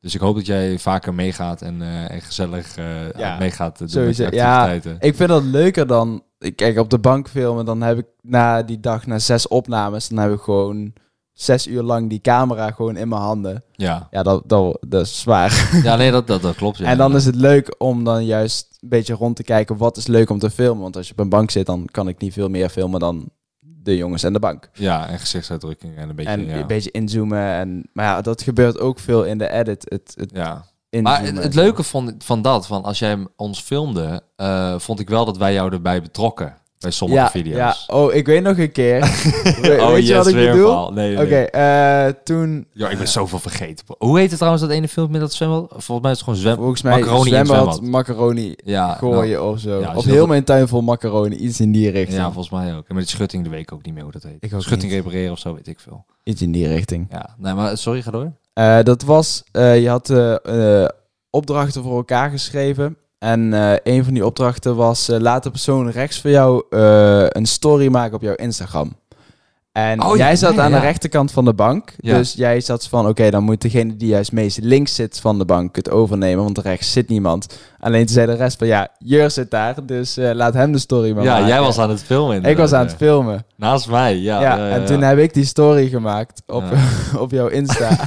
Dus ik hoop dat jij vaker meegaat en, eh, en gezellig eh, Ja, meegaat eh, doen met Sowieso, je ja, activiteiten. ik vind dat leuker dan... Kijk, op de bank filmen, dan heb ik na die dag, na zes opnames... dan heb ik gewoon zes uur lang die camera gewoon in mijn handen. Ja, Ja, dat, dat, dat is zwaar. ja nee, dat, dat, dat klopt. ja. en dan is het leuk om dan juist een beetje rond te kijken... wat is leuk om te filmen. Want als je op een bank zit, dan kan ik niet veel meer filmen dan de jongens en de bank. Ja, en gezichtsuitdrukking en een beetje... en ja. een beetje inzoomen. En, maar ja, dat gebeurt ook veel in de edit. Het, het ja. inzoomen. Maar het, het leuke van, van dat, van als jij hem ons filmde, eh, vond ik wel dat wij jou erbij betrokken bij sommige ja, video's. Oh, Ja, oh, ik weet nog een keer. We- weet je yes, wat ik weer een bedoel? verhaal. Nee, nee, Oké, nee. eh, toen... Ja, ik ben zoveel vergeten. Hoe heet het trouwens dat ene filmpje dat zwembad? Volgens mij is het gewoon zwem Volgens mij macaroni in zwembad, zwembad. macaroni Ja, gooien of zo. ja, als of je heel dat- mijn tuin vol macaroni, iets in die nou, richting. ja, volgens mij ook. En met die schutting de week ook niet meer hoe dat heet. Ik ook schutting niet. repareren of zo, weet ik veel. iets in die richting. Ja, nee, maar sorry, ga door. Eh, dat was, eh, je had eh, eh, opdrachten voor elkaar geschreven. En eh, een van die opdrachten was, eh, laat de persoon rechts van jou eh, een story maken op jouw Instagram. En Oh, ja, jij zat ja, aan ja. de rechterkant van de bank. Ja. Dus jij zat van, oké, dan moet degene die juist meest links zit van de bank het overnemen. Want rechts zit niemand. Alleen toen zei de rest van, ja, Jur zit daar, dus eh, laat hem de story maar ja, maken. jij was aan het filmen. Ik was inderdaad, aan het ja. filmen. Naast mij, ja. Ja, ja, en ja. toen heb ik die story gemaakt op, op jouw Insta.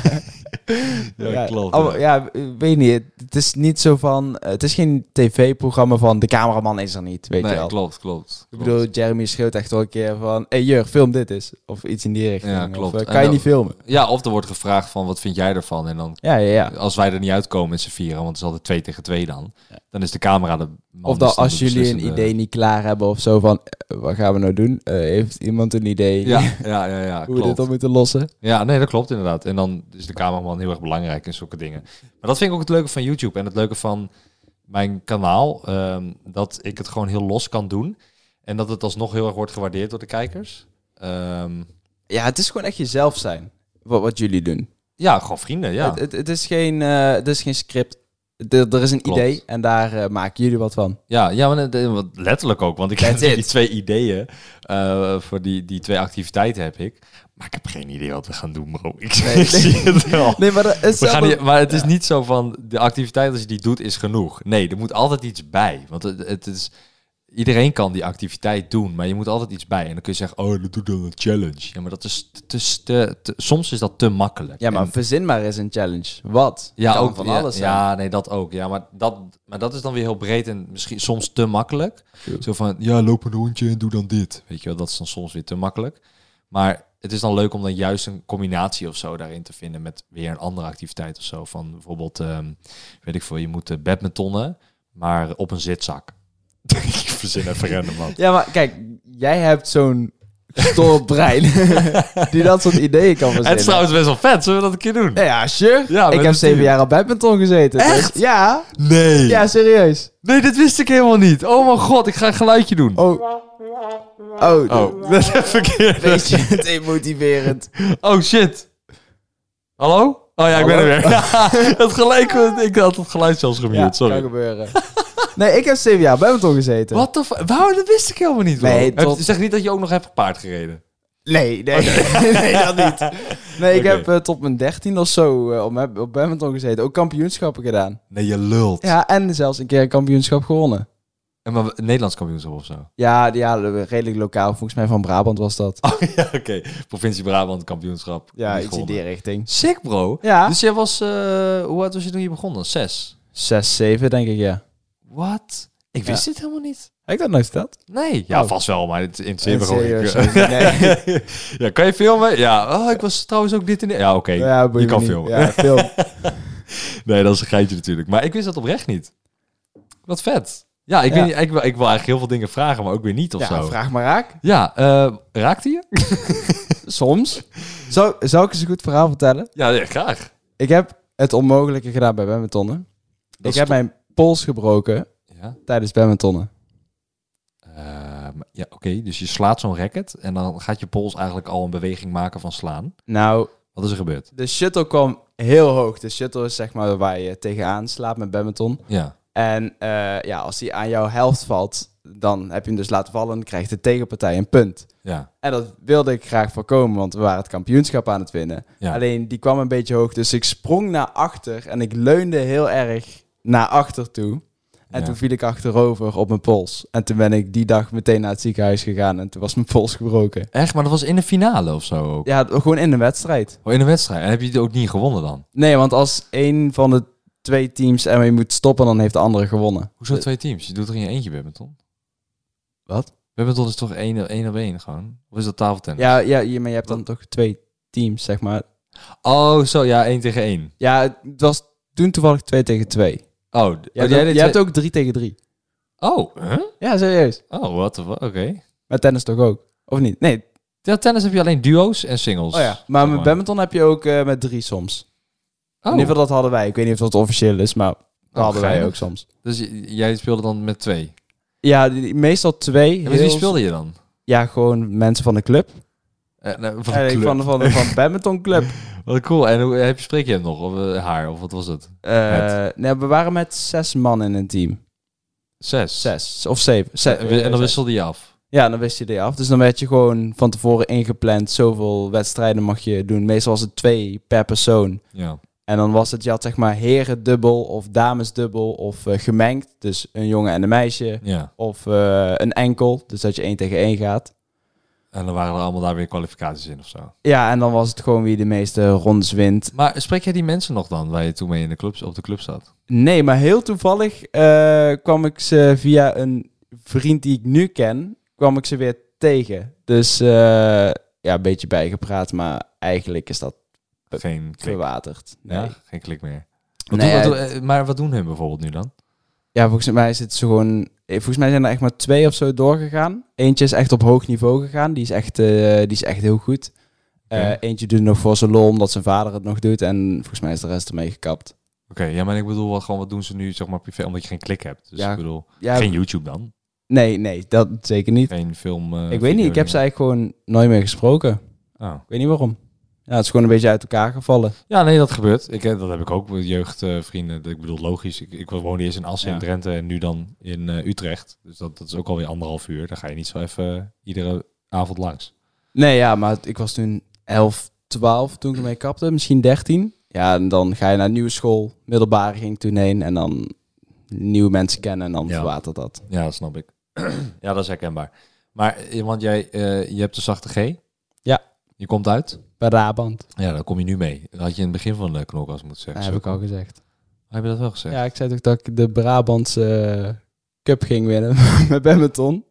Ja, klopt. allemaal- ja. ja, weet niet. Het is niet zo van. Het is geen tv-programma van de cameraman is er niet. Weet je Nee, wel. klopt, klopt. Ik bedoel, Jeremy schreeuwt echt wel een keer van. Hey, Jur, film dit eens. Of iets in die richting. Ja, Of, klopt. eh, En kan je dan- niet filmen? Ja, of er wordt gevraagd van, wat vind jij ervan? En dan, Ja, ja, ja. als wij er niet uitkomen met z'n vieren, want het is altijd twee tegen twee dan, dan is de camera de man Of die dan is dan als de jullie een beslissende- idee niet klaar hebben of zo van. eh, wat gaan we nou doen? Eh, heeft iemand een idee Ja, ja, ja, ja hoe we dit klopt. op moeten lossen? Ja, nee, dat klopt inderdaad. En dan is de cameraman heel erg belangrijk in zulke dingen. Maar dat vind ik ook het leuke van YouTube en het leuke van mijn kanaal. ehm, dat ik het gewoon heel los kan doen. En dat het alsnog heel erg wordt gewaardeerd door de kijkers. Ehm, Ja, het is gewoon echt jezelf zijn. Wat, wat jullie doen. ja, gewoon vrienden, ja. Het, het, het is geen, eh, het is geen script. Er, er is een Klopt. idee en daar eh, maken jullie wat van. Ja, ja maar net- eh, wat letterlijk ook. Want ik heb That's die it. twee ideeën eh, voor die, die twee activiteiten heb ik. Maar ik heb geen idee wat we gaan doen, bro. Ik, ik zie het wel. Nee, maar dat is Oh. We gaan zelf- niet, maar het is niet zo van de activiteit als je die doet is genoeg. Nee, er moet altijd iets bij. Want het, het is, iedereen kan die activiteit doen, maar je moet altijd iets bij. En dan kun je zeggen, oh, dat doe dan een challenge. Ja, maar dat is te, te, te- te- soms is dat te makkelijk. Ja, maar En- verzin maar eens een challenge. Wat? ja, Kan ook van ja, alles zijn. Ja, nee, dat ook. Ja, maar dat, maar dat is dan weer heel breed en misschien soms te makkelijk. Zo van, ja, loop een rondje en doe dan dit. Weet je wel, dat is dan soms weer te makkelijk. Maar het is dan leuk om dan juist een combinatie of zo daarin te vinden met weer een andere activiteit of zo. Van bijvoorbeeld, ehm, weet ik veel, je moet eh, badmintonnen, maar op een zitzak. ik verzin even random wat. Ja, maar kijk, jij hebt zo'n brein. die dat soort ideeën kan verzinnen. Het is trouwens best wel vet. Zullen we dat een keer doen? Ja, ja, sure. Ja, ik met heb de zeven team. jaar op badminton gezeten. dus- Echt? Ja. Nee. Ja, serieus. Nee, dit wist ik helemaal niet. Oh mijn god, ik ga een geluidje doen. Oh. Oh. Oh, dat is het verkeerde. Weet je, het is motiverend. Oh shit. Hallo? Oh ja, ik ben er weer. het gelijk, ik had het geluid zelfs gemute, Ja, kan sorry. gebeuren. Nee, ik heb zeven jaar op badminton gezeten. Wat de f... Wauw, dat wist ik helemaal niet. hoor. Nee, Heb- tot- Zeg niet dat je ook nog hebt paard gereden. Nee, nee, nee, dat niet. Nee, ik Oké. heb eh, tot mijn dertien of zo eh, op, mijn- op badminton gezeten. Ook kampioenschappen gedaan. Nee, je lult. Ja, en zelfs een keer een kampioenschap gewonnen. En maar we- Nederlands kampioenschap of zo. Ja, die- ja, redelijk lokaal. Volgens mij van Brabant was dat. Oh ja, oké. Provincie Brabant kampioenschap. ja, Niet iets in gewonnen. die richting. Sick bro. Ja. Dus jij was, eh, hoe oud was je toen je begon dan? Zes? Zes, zeven denk ik, ja. Wat? Ik wist dit helemaal niet. Heb ik dat nooit verteld? Nee. Ja, Oh. vast wel, maar het interesseert me Eh, gewoon. serieus, niet. serieus. Nee. ja, kan je filmen? Ja, oh, ik was trouwens ook dit en dit. Ja, oké. Ja, boeit je me kan niet. filmen. Ja, film. Nee, dat is een geitje natuurlijk. Maar ik wist dat oprecht niet. Wat vet. Ja, ik, Ja. Weet, niet- ik, wil- ik wil eigenlijk heel veel dingen vragen, maar ook weer niet of ja, zo. vraag maar raak. Ja, eh, raakte je? Soms. Zou, zou ik eens een goed verhaal vertellen? Ja, nee, graag. Ik heb het onmogelijke gedaan bij badmintonnen. Ik is heb mijn pols gebroken Ja, tijdens badmintonnen. Ehm, ja oké. Dus je slaat zo'n racket en dan gaat je pols eigenlijk al een beweging maken van slaan. Nou, Wat is er gebeurd? de shuttle kwam heel hoog. De shuttle is zeg maar waar je tegenaan slaat met badminton. Ja. En eh, ja, als die aan jouw helft valt, dan heb je hem dus laten vallen. Dan krijgt de tegenpartij een punt. Ja. En dat wilde ik graag voorkomen, want we waren het kampioenschap aan het winnen. Ja. Alleen die kwam een beetje hoog, dus ik sprong naar achter en ik leunde heel erg naar achter toe. En Ja. toen viel ik achterover op mijn pols. En toen ben ik die dag meteen naar het ziekenhuis gegaan en toen was mijn pols gebroken. Echt? Maar dat was in de finale of zo ook? Ja, gewoon in een wedstrijd. Oh, in een wedstrijd. En heb je die ook niet gewonnen dan? Nee, want als één van de twee teams ermee moet stoppen, dan heeft de andere gewonnen. Hoezo twee teams? Je doet er in je eentje badminton. Wat? Badminton is dus toch één, één op één gewoon? Of is dat tafeltennis? Ja, ja, je- maar je hebt dan toch twee teams, zeg maar. Oh, zo. Ja, één tegen één. Ja, het was toen toevallig twee tegen twee. Oh, d- Je, oh, hebt, jij ook, deed je hebt twee- ook drie tegen drie. Oh, huh? Ja, serieus. Oh, what the fuck? Oké. Maar tennis toch ook? Of niet? Nee. Ja, tennis heb je alleen duo's en singles. Oh Maar met Zeg badminton heb je ook eh, met drie soms. Oh, In ieder geval, dat hadden wij. Ik weet niet of dat officieel is, maar dat Oh, hadden wij geinig. ook soms. Dus j- jij speelde dan met twee. Ja, die- die- meestal twee. En met wie heel- speelde je dan? Ja, gewoon mensen van de club. Eh, nou, van de Eigenlijk club. Van, de- van, de- van de badmintonclub. Wat cool. En hoe heb je, spreek je hem nog? Of eh, haar? Of wat was het? Eh nee, we waren met zes man in een team. Zes. Zes of zeven. Zes, En, we- en dan wisselde je af. Ja, dan wist je die af. Dus dan werd je gewoon van tevoren ingepland. Zoveel wedstrijden mag je doen. Meestal was het twee per persoon. Ja. En dan was het, je had zeg maar herendubbel of damesdubbel of eh, gemengd. Dus een jongen en een meisje. ja. Of eh, een enkel, dus dat je één tegen één gaat. En dan waren er allemaal daar weer kwalificaties in of zo. Ja, en dan was het gewoon wie de meeste rondes wint. Maar spreek jij die mensen nog dan waar je toen mee in de club, op de club zat? Nee, maar heel toevallig eh, kwam ik ze via een vriend die ik nu ken, kwam ik ze weer tegen. Dus eh, ja, een beetje bijgepraat, maar eigenlijk is dat Geen klik. verwaterd. Nee. Ja, Ja. geen klik meer. Wat Nee, doen- wat ja, doen- eh, maar wat doen hun bijvoorbeeld nu dan? volgens mij is het zo gewoon... eh, Volgens mij zijn er echt maar twee of zo doorgegaan. Eentje is echt op hoog niveau gegaan. Die is echt, eh, die is echt heel goed. Eh, Oké. eentje doet het nog voor zijn lol, omdat zijn vader het nog doet. En volgens mij is de rest ermee gekapt. Oké, ja, maar ik bedoel wel gewoon wat doen ze nu zeg maar privé, omdat je geen klik hebt. Dus Ja. ik bedoel, Ja, geen YouTube dan, Nee, nee, dat zeker niet. geen film. eh, ik weet niet, ik heb ze video eigenlijk gewoon nooit meer gesproken. Ik dingen. Oh. weet niet waarom. Ja, het is gewoon een beetje uit elkaar gevallen. Ja, nee, dat gebeurt. Ik, eh, dat heb ik ook met jeugdvrienden. ik bedoel, logisch. Ik, ik woonde eerst in Assen in Ja. Drenthe en nu dan in eh, Utrecht. Dus dat, dat is ook alweer anderhalf uur. Daar ga je niet zo even eh, iedere avond langs. Nee, ja, maar het- ik was toen 11, 12 toen ik ermee kapte. Misschien 13. Ja, en dan ga je naar een nieuwe school. Middelbare ging ik toen heen. En dan nieuwe mensen kennen en dan Ja. verwatert dat. Ja, dat snap ik. ja, dat is herkenbaar. Maar, eh, want jij eh, je hebt de zachte G. Ja. Je komt uit. Paraband, Ja, daar kom je nu mee. Dat had je in het begin van de knokkas moeten zeggen. dat heb Zo. ik al gezegd. Heb je dat wel gezegd? Ja, ik zei toch dat ik de Brabantse eh, cup ging winnen met badminton.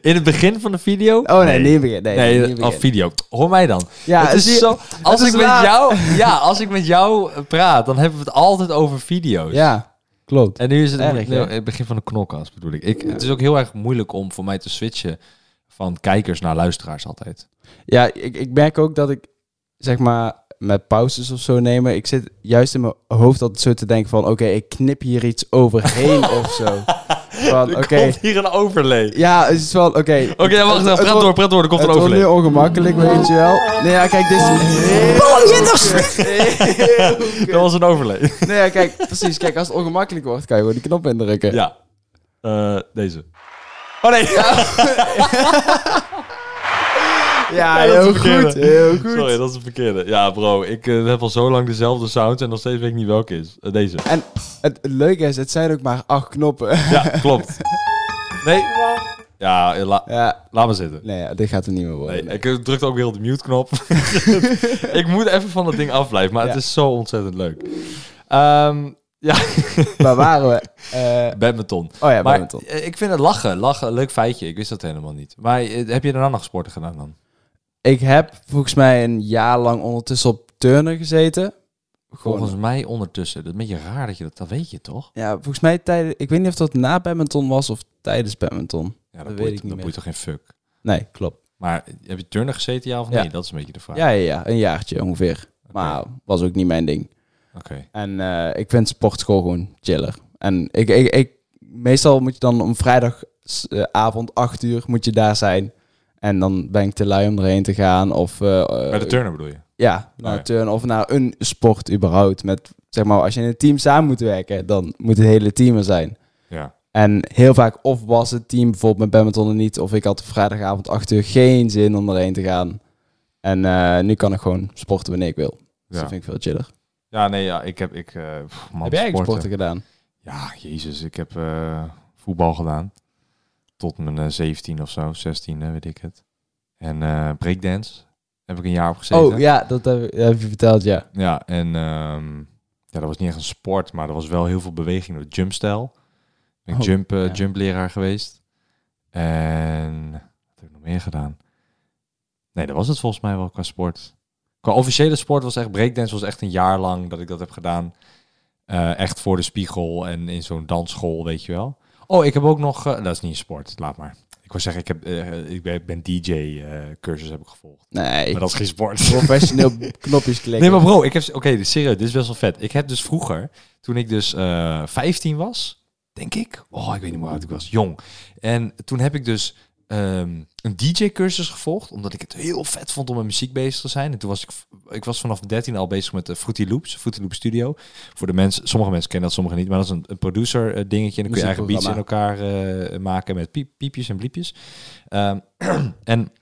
In het begin van de video? Oh nee, niet beginnen. Nee, Nee, niet in het af begin. video. Hoor mij dan. Ja, het zie is je- zo, als, is ik met laat. jou, ja, als ik met jou eh, praat, dan hebben we het altijd over video's. Ja, klopt. En nu is het Erg, nee, hè? het begin van de knokkast, bedoel ik. ik. Het is ook heel erg moeilijk om voor mij te switchen van kijkers naar luisteraars altijd. Ja, ik, ik merk ook dat ik, zeg maar, met pauzes of zo nemen. Ik zit juist in mijn hoofd altijd zo te denken van... Oké, ik knip hier iets overheen of zo. Van, oké. hier een overlay. Ja, het is wel... Oké, Oké, wacht even. Praat door, praat door. Oh. Er komt Het een wordt overlay. nu ongemakkelijk, weet je wel. Nee, ja, kijk, dit is... Dat was een overlay. Nee, ja, kijk, precies. Kijk, als het ongemakkelijk wordt, kan je gewoon die knop indrukken. Ja. Eh, deze. Oh nee. Ja, Ja, dat is heel een verkeerde. goed. Heel goed. Sorry, dat is een verkeerde. Ja, bro. Ik eh, heb al zo lang dezelfde sound en nog steeds weet ik niet welke is. Eh, deze. En het leuke is, het zijn ook maar acht knoppen. Ja, klopt. Nee. Ja, eh, la- Ja, laat maar zitten. nee, ja, dit gaat er niet meer worden. Nee, ik eh, drukte ook heel de mute-knop. ik moet even van dat ding afblijven, maar Ja. het is zo ontzettend leuk. Ehm, ja, Waar waren we? Eh, badminton. oh ja, maar badminton. eh, ik vind het lachen, lachen, een leuk feitje. Ik wist dat helemaal niet. Maar eh, heb je daarna nog sporten gedaan dan? Ik heb volgens mij een jaar lang ondertussen op turnen gezeten. Gewoon- eh, Volgens mij ondertussen. Dat is een beetje raar dat je dat, dat weet je toch? Ja, volgens mij tijdens... Ik weet niet of dat na badminton was of tijdens badminton. Ja, dat, weet boeit, ik niet dat meer. boeit toch geen fuck? Nee, klopt. Maar eh, heb je turnen gezeten, ja of Ja. nee? Dat is een beetje de vraag. Ja, ja, ja. Een jaartje ongeveer. Oké, Maar was ook niet mijn ding. Oké. En eh, ik vind sportschool gewoon chiller. En ik, ik, ik, meestal moet je dan om vrijdagavond 8 uur moet je daar zijn. En dan ben ik te lui om erheen te gaan. Of, eh, Bij de eh, turner bedoel je? Ja, naar Oh, ja. een turn of naar een sport überhaupt. Met, zeg maar, als je in een team samen moet werken, dan moet het hele team er zijn. Ja. En heel vaak of was het team bijvoorbeeld met badminton er niet. Of ik had op vrijdagavond 8 uur geen zin om erheen te gaan. En eh, nu kan ik gewoon sporten wanneer ik wil. Dus Ja. dat vind ik veel chiller. Ja, nee, ja, ik heb... Ik, eh, pff, man, Heb jij eigenlijk sporten. sporten gedaan? Ja, jezus, ik heb eh, voetbal gedaan. Tot mijn eh, 17 of zo, 16, eh, weet ik het. En eh, breakdance heb ik een jaar op gezeten. Oh ja, dat heb, ik- dat heb je verteld, ja. Ja, en ehm, ja, dat was niet echt een sport, maar er was wel heel veel beweging door jumpstijl. Ik ben Oh, jump, eh, ja. jumpleraar geweest. En wat heb ik nog meer gedaan? Nee, dat was het volgens mij wel qua sport. Qua officiële sport was echt breakdance was echt een jaar lang dat ik dat heb gedaan. Eh, echt voor de spiegel en in zo'n dansschool, weet je wel. Oh, ik heb ook nog... eh, dat is niet een sport, laat maar. Ik wil zeggen, ik, heb, eh, ik ben- ik ben DJ-cursus heb ik gevolgd. Nee, Maar dat is geen sport. professioneel knopjes klikken. Nee, maar bro, ik heb... Oké, dit- serieus, dit is best wel vet. Ik heb dus vroeger, toen ik dus eh 15 was, denk ik... Oh, ik weet niet hoe oud ik was. Jong. En toen heb ik dus ehm, een DJ-cursus gevolgd, omdat ik het heel vet vond om met muziek bezig te zijn. En toen was ik... Ik was vanaf 13 al bezig met de Fruity Loops, Fruity Loop Studio. Voor de mensen... Sommige mensen kennen dat, sommige niet. Maar dat is een, een producer-dingetje. En dan kun je eigen beats in elkaar eh, maken met piep, piepjes en bliepjes. Ehm, en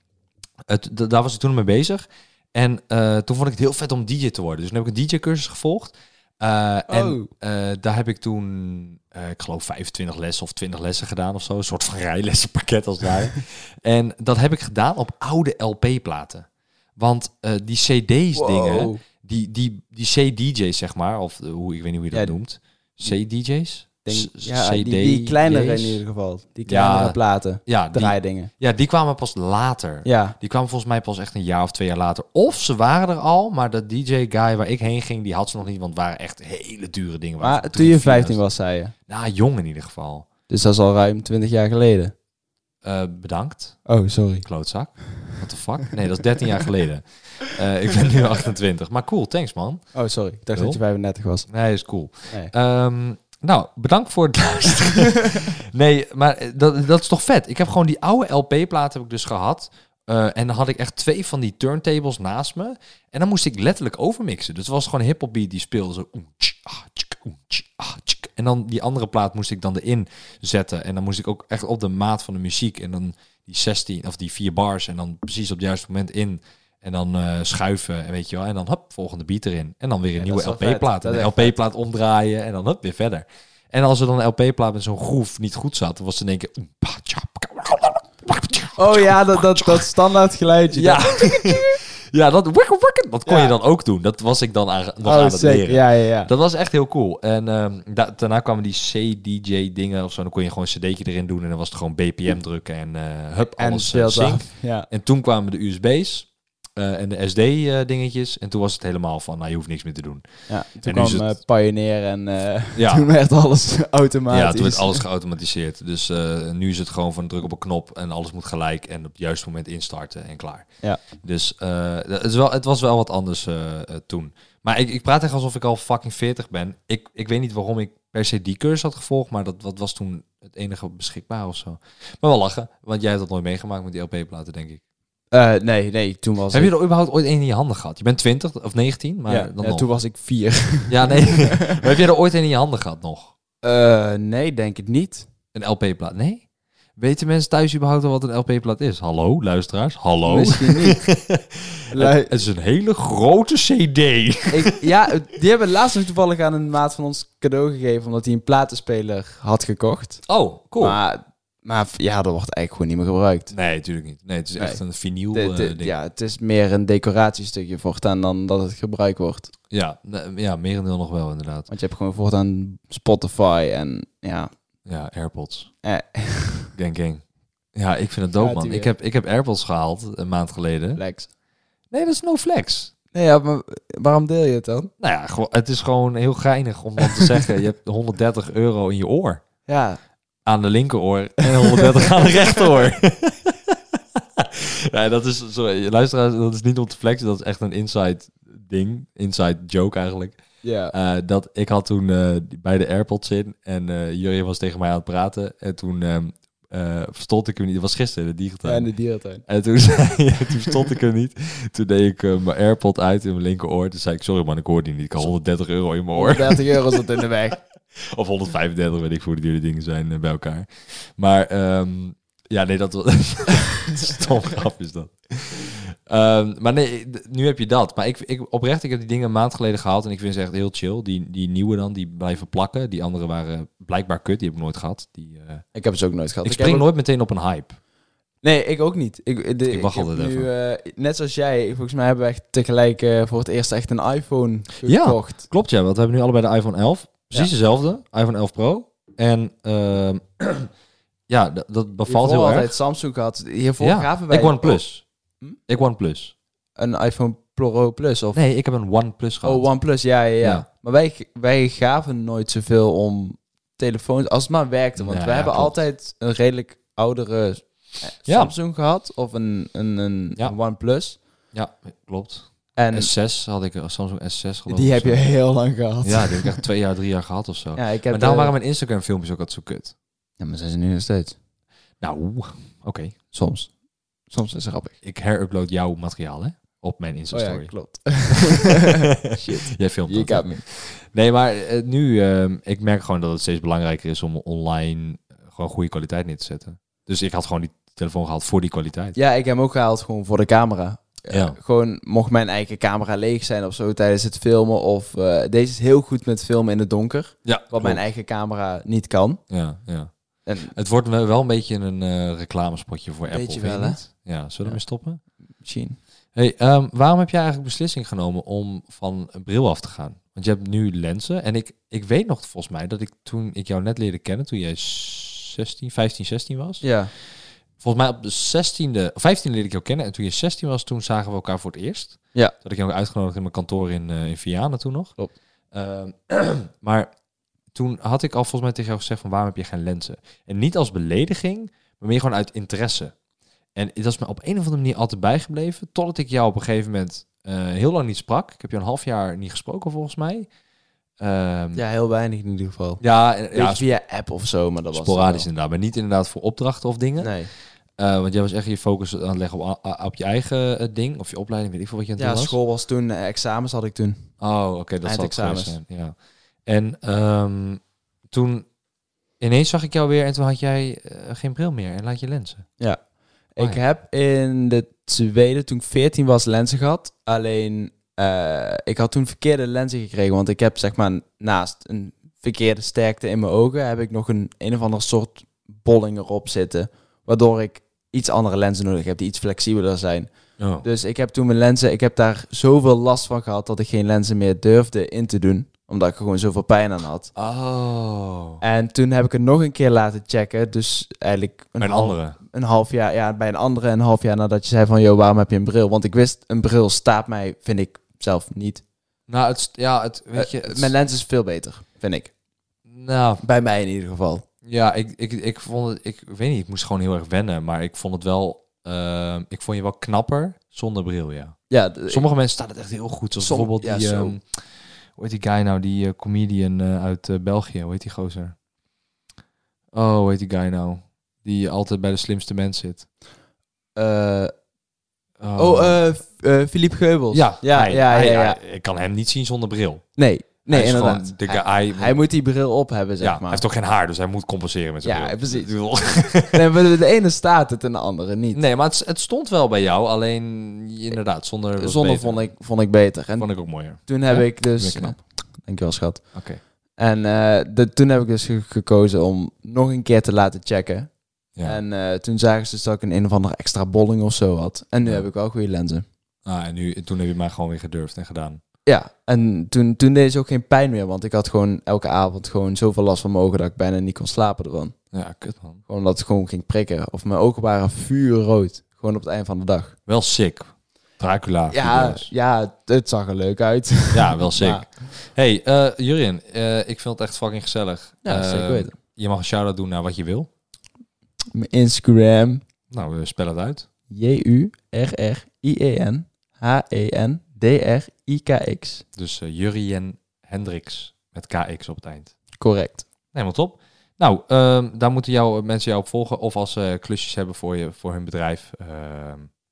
het, d- daar was ik toen mee bezig. En eh, toen vond ik het heel vet om DJ te worden. Dus toen heb ik een DJ-cursus gevolgd. Eh, Oh. En eh, daar heb ik toen, eh, ik geloof, 25 lessen of 20 lessen gedaan of zo. Een soort van rijlessenpakket als daar. en dat heb ik gedaan op oude LP-platen. Want eh, die CD's-dingen, Wow. die, die, die CDJ's zeg maar, of eh, hoe, ik weet niet hoe je dat Ja, noemt. CDJ's? Denk, S- ja, die, die kleinere in CD's? ieder geval. Die kleinere Ja. platen. Ja, die, Draaidingen. ja, die kwamen pas later. Ja. Die kwamen volgens mij pas echt een jaar of twee jaar later. Of ze waren er al, maar de DJ-guy waar ik heen ging, die had ze nog niet. Want het waren echt hele dure dingen. Waren Maar van toen drie, je vier 15 duizend. was, zei je. Nou, jong in ieder geval. Dus dat is al ruim 20 jaar geleden. Eh, bedankt, Oh, sorry. klootzak. What the fuck? Nee, dat is 13 jaar geleden. Eh, ik ben nu 28. Maar cool, thanks man. Oh, sorry. Ik dacht Wel? dat je 35 was. Nee, is cool. Nee. Ehm, nou, bedankt voor het luisteren. nee, maar eh, dat, dat is toch vet. Ik heb gewoon die oude LP-platen heb ik dus gehad. Eh, en dan had ik echt twee van die turntables naast me. En dan moest ik letterlijk overmixen. Dus het was gewoon hip-hop beat die speelde zo. oem, tsch, ah, tsk, oem, tsch, ah, tsk. En dan die andere plaat moest ik dan erin zetten. En dan moest ik ook echt op de maat van de muziek. En dan die 16 of die vier bars. En dan precies op het juiste moment in. En dan eh, schuiven. En weet je wel. En dan hop, volgende beat erin. En dan weer een Ja, nieuwe dat is wel LP-plaat. vet. Dat En is een echt LP-plaat omdraaien. En dan hop, weer verder. En als er dan een LP-plaat met zo'n groef niet goed zat, dan was het in één keer. oem, pa, tja, pa, tja. Oh ja, dat, dat, dat standaard geluidje. Ja. Dat- ja, dat wikkel, wikkel, dat kon Ja. je dan ook doen. Dat was ik dan aan, nog oh, aan het zeker. leren. Ja, ja, ja. Dat was echt heel cool. En ehm, da- daarna kwamen die CDJ-dingen of zo. Dan kon je gewoon een cd'tje erin doen en dan was het gewoon BPM drukken en eh hup, en alles eh, speelt sync. af. Ja. En toen kwamen de USB's. eh, en de SD-dingetjes. en toen was het helemaal van, nou, je hoeft niks meer te doen. Ja, nu toen kwam is het- eh, Pioneer en eh, Ja. toen werd alles automatisch. Ja, toen werd alles geautomatiseerd. Dus eh, nu is het gewoon van druk op een knop en alles moet gelijk en op het juiste moment instarten en klaar. Ja. Dus eh, het, is wel, het was wel wat anders eh, eh, toen. Maar ik, ik praat echt alsof ik al fucking 40 ben. Ik, ik weet niet waarom ik per se die cursus had gevolgd, maar dat, dat was toen het enige beschikbaar of zo. Maar wel lachen, want jij hebt dat nooit meegemaakt met die LP-platen, denk ik. Eh, nee, nee, toen was Heb ik... je er überhaupt ooit een in je handen gehad? Je bent 20 of 19, maar ja, dan ja, nog. toen was ik vier. Ja, nee. maar heb jij er ooit een in je handen gehad nog? Eh, nee, denk het niet. Een LP-plaat? Nee? Weten mensen thuis überhaupt al wat een LP-plaat is? Hallo, luisteraars. Hallo. Misschien niet. Lui- Oh. Het, het is een hele grote CD. ik, ja, die hebben laatst nog toevallig aan een maat van ons cadeau gegeven... omdat hij een platenspeler had gekocht. Oh, cool. Maar, maar v- ja, dat wordt eigenlijk gewoon niet meer gebruikt. Nee, natuurlijk niet. Nee, het is echt een vinyl De- eh, de- ding. Ja, ja, het is meer een decoratiestukje voortaan dan dat het gebruikt wordt. ja, ne- ja merendeel nog wel inderdaad. Want je hebt gewoon voortaan Spotify en ja... Ja, AirPods. Eh, Gang, gang. Ja, ik vind het dope, Gaat-ie man. Ik weer. heb, ik heb AirPods gehaald een maand geleden. Lex. Nee, dat is no flex. Nee, ja, maar waarom deel je het dan? Nou ja, gewoon- het is gewoon heel geinig om dan te zeggen... je hebt 130 euro in je oor. Ja, aan de linkeroor en 130 aan de rechteroor. ja, dat is, sorry, luisteraars, dat is niet om te flexen, dat is echt een inside ding, inside joke eigenlijk. ja. Eh, dat ik had toen eh, bij de AirPods in en eh Jurjen was tegen mij aan het praten en toen ehm, eh, verstond ik hem niet. Dat was gisteren in de digitale. en de dierentuin. En toen, zei, toen stond ik er niet. Toen deed ik eh, mijn AirPod uit in mijn linkeroor. Toen zei ik, sorry man, ik hoor die niet. Ik had 130 euro in mijn oor. 30 euro zat in de weg. Of 135, weet ik voor de duurde dingen zijn eh, bij elkaar. Maar ehm, ja, nee, dat was... Stom grap is dat. Ehm, maar nee, d- nu heb je dat. Maar ik, ik, oprecht, ik heb die dingen een maand geleden gehaald en ik vind ze echt heel chill. Die, die nieuwe dan, die blijven plakken. Die andere waren blijkbaar kut, die heb ik nooit gehad. Die, eh, Ik heb ze ook nooit gehad. ik heb spring ook- nooit meteen op een hype. Nee, ik ook niet. Ik, de, Ik wacht heb altijd nu, eh, net zoals jij, volgens mij hebben we echt tegelijk eh, voor het eerst echt een iPhone Ja. gekocht. Klopt ja, want we hebben nu allebei de iPhone 11. Precies dezelfde, iPhone 11 Pro. En ehm, ja, dat, dat bevalt Hiervoor heel altijd erg. Samsung gehad. Hiervoor Ja, gaven wij ik OnePlus. Hm? Ik OnePlus. een iPhone Pro Plus of Nee, ik heb een OnePlus gehad. oh, OnePlus. Ja, ja, ja, Ja. Maar wij, wij gaven nooit zoveel om telefoons, als het maar werkte. Want Ja, we hebben klopt. altijd een redelijk oudere eh, Ja. Samsung gehad of een, een, een, Ja. een OnePlus. Ja, klopt. En S6 had ik, eh, een Samsung S6 geloof die ik heb zo. je heel lang gehad. Ja, die heb ik echt twee jaar, drie jaar gehad of zo. Ja, ik heb maar daarom de- waren mijn Instagram filmpjes ook altijd zo kut. Ja, maar zijn ze nu nog steeds. Nou, oké. Soms. Soms is het grappig. Ik herupload jouw materiaal, hè? Op mijn Insta-story. klopt. Oh Shit. Jij filmt Oh You dat. got me. Nee, maar eh, nu, eh, ik merk gewoon dat het steeds belangrijker is om online eh, gewoon goede kwaliteit neer te zetten. Dus ik had gewoon die telefoon gehaald voor die kwaliteit. Ja, ik heb hem ook gehaald gewoon voor de camera. Eh, Ja. gewoon mocht mijn eigen camera leeg zijn of zo tijdens het filmen. Of eh, deze is heel goed met filmen in het donker. Wat Ja, klopt. mijn eigen camera niet kan. ja, ja. En Het wordt wel wel een beetje een eh, reclamespotje voor Apple. Beetje vind je wel, hè? niet? Ja, zullen we Ja. ermee stoppen? misschien. Hey, ehm, waarom heb jij eigenlijk beslissing genomen om van een bril af te gaan? Want je hebt nu lenzen. En ik, ik weet nog volgens mij dat ik toen ik jou net leerde kennen, toen jij 16, 15, 16 was. Ja. Volgens mij op de 16e, 15e leerde ik jou kennen. En toen je 16 was, toen zagen we elkaar voor het eerst. Ja. Toen had ik jou ook uitgenodigd in mijn kantoor in, eh in Vianen toen nog. Klopt. Ehm, maar toen had ik al volgens mij tegen jou gezegd van waarom heb je geen lenzen? En niet als belediging, maar meer gewoon uit interesse. En dat is me op een of andere manier altijd bijgebleven. Totdat ik jou op een gegeven moment eh, heel lang niet sprak. Ik heb je een half jaar niet gesproken volgens mij. Ehm, Ja, heel weinig in ieder geval. ja, en- Ja, ja, via app of zo, maar dat was eh, sporadisch inderdaad. Maar niet inderdaad voor opdrachten of dingen. Nee. Eh, want jij was echt je focus aan het leggen op, a- op je eigen eh, ding. Of je opleiding, weet ik veel wat je aan het Ja, doen was. school was toen, eh, examens had ik toen. Oh, oké, dat zal het geweest Eindexamens. zijn. Ja. En ehm, toen ineens zag ik jou weer en toen had jij eh, geen bril meer en laat je lenzen. Ja. Oh, ik ja. heb in de tweede, toen ik 14 was, lenzen gehad. Alleen, eh, ik had toen verkeerde lenzen gekregen. Want ik heb zeg maar naast een verkeerde sterkte in mijn ogen... heb ik nog een een of ander soort bolling erop zitten. Waardoor ik iets andere lenzen nodig heb die iets flexibeler zijn. Oh. Dus ik heb toen mijn lenzen... Ik heb daar zoveel last van gehad dat ik geen lenzen meer durfde in te doen. Omdat ik er gewoon zoveel pijn aan had. Oh. En toen heb ik het nog een keer laten checken. Dus eigenlijk een, Een half- andere. een half jaar, ja, bij een andere een half jaar nadat je zei van, joh, waarom heb je een bril? Want ik wist, een bril staat mij, vind ik zelf niet. Nou, het, st- ja, het, weet je... Eh, het Mijn st- lens is veel beter, vind ik. nou, Bij mij in ieder geval. Ja, ik, ik, ik vond het, ik, ik weet niet, ik moest gewoon heel erg wennen, maar ik vond het wel, ehm, ik vond je wel knapper zonder bril, ja. Ja, d- Sommige mensen staan het echt heel goed, zoals Som- bijvoorbeeld ja, die, zo. ehm, hoe heet die guy nou, die eh, comedian eh, uit eh, België, hoe heet die gozer? Oh, hoe heet die guy nou? Die altijd bij de slimste mens zit. Ehm, eh, oh, eh, F- eh, Philippe Geubels. ja, ja, hij- ja, hij- ja, ja. hij- ik kan hem niet zien zonder bril. Nee, nee, Hij is gewoon inderdaad. de hij, guy, hij moet die bril op hebben, zeg ja, maar. hij heeft toch geen haar, dus hij moet compenseren met zijn Ja, bril. precies. Ik bedoel- Nee, maar de ene staat het en de andere niet. Nee, maar het, het stond wel bij jou, alleen inderdaad, zonder was Zonne beter. vond ik, vond ik beter. En Vond ik ook mooier. toen heb Ja, ik dus... weer knap. Dankjewel, schat. Oké. En eh, de, toen heb ik dus ge- gekozen om nog een keer te laten checken. Ja. En eh, toen zagen ze dus dat ik een, een of andere extra bolling of zo had. En nu Ja. heb ik wel goede lenzen. Ah, en nu, toen heb je mij gewoon weer gedurfd en gedaan. Ja, en toen, toen deed ze ook geen pijn meer. Want ik had gewoon elke avond gewoon zoveel last van mijn ogen dat ik bijna niet kon slapen ervan. Ja, kut man. Gewoon omdat het gewoon ging prikken. Of mijn ogen waren vuurrood. Gewoon op het eind van de dag. Wel sick. Dracula. Ja, figuurs. ja, het- het zag er leuk uit. ja wel sick. Ja. Hey, eh Jurien, eh, ik vind het echt fucking gezellig. Ja, Eh, zeker weten. Je mag een shout-out doen naar wat je wil. Mijn Instagram, Nou, we spellen het uit. E J-U-R-R-I-E-N-H-E-N-D-R-I-K-X. Dus eh Jurien Hendricks met KX op het eind. Correct. Helemaal top. Nou, ehm, daar moeten jou, mensen jou op volgen. Of als ze klusjes hebben voor, je, voor hun bedrijf, ehm,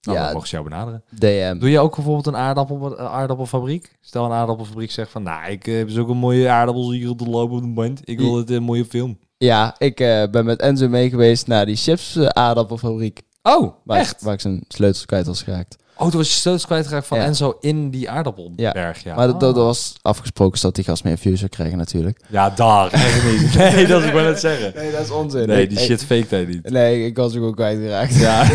nou, Ja. dan mogen ze jou benaderen. DM. Doe je ook bijvoorbeeld een aardappel, een aardappelfabriek? Stel een aardappelfabriek zegt van, nou, ik eh, heb zo'n mooie aardappels hier op de loop op de band. Ik wil het een mooie film. Ja, ik eh, ben met Enzo mee geweest naar die chips eh, aardappelfabriek. Oh, Waar, echt? Ik, waar ik zijn sleutels kwijt was geraakt. Oh, toen was je sleutels kwijtgeraakt van Ja. Enzo in die aardappelberg. Ja, maar dat, dat Ah. was afgesproken dat die gast meer views zou krijgen natuurlijk. Ja, daar. Echt niet. Nee, dat is ik maar net zeggen. Nee, dat is onzin. Nee, die shit fake hij niet. Nee, ik was ook ook kwijtgeraakt. Ja.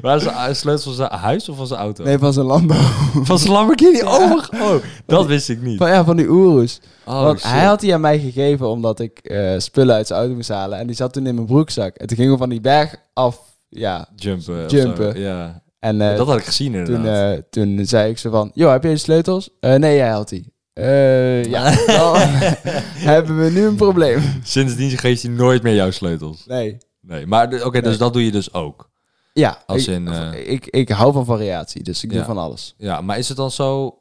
Waar is de sleutels van zijn huis of van zijn auto? Nee, van zijn landbouw. Van zijn Lamborghini? Oh, mijn g- oh, dat wist ik niet. Van, ja, van die Oeroes. Oh, Want shit. hij had die aan mij gegeven omdat ik eh, spullen uit zijn auto moest halen. En die zat toen in mijn broekzak. En toen gingen we van die berg af. Ja. Jumpen. of Jumpen. zo. Ja. En eh, dat had ik gezien toen, inderdaad. eh, toen zei ik ze van... Yo, heb jij de sleutels? "Eh, nee, jij had die. "Eh, ja, dan hebben we nu een probleem. Sindsdien geeft hij nooit meer jouw sleutels. Nee. Nee, maar de- oké, dus dat doe je dus ook. Ja, Als ik, in, eh, ik, ik hou van variatie, dus ik Ja. doe van alles. Ja, maar is het dan zo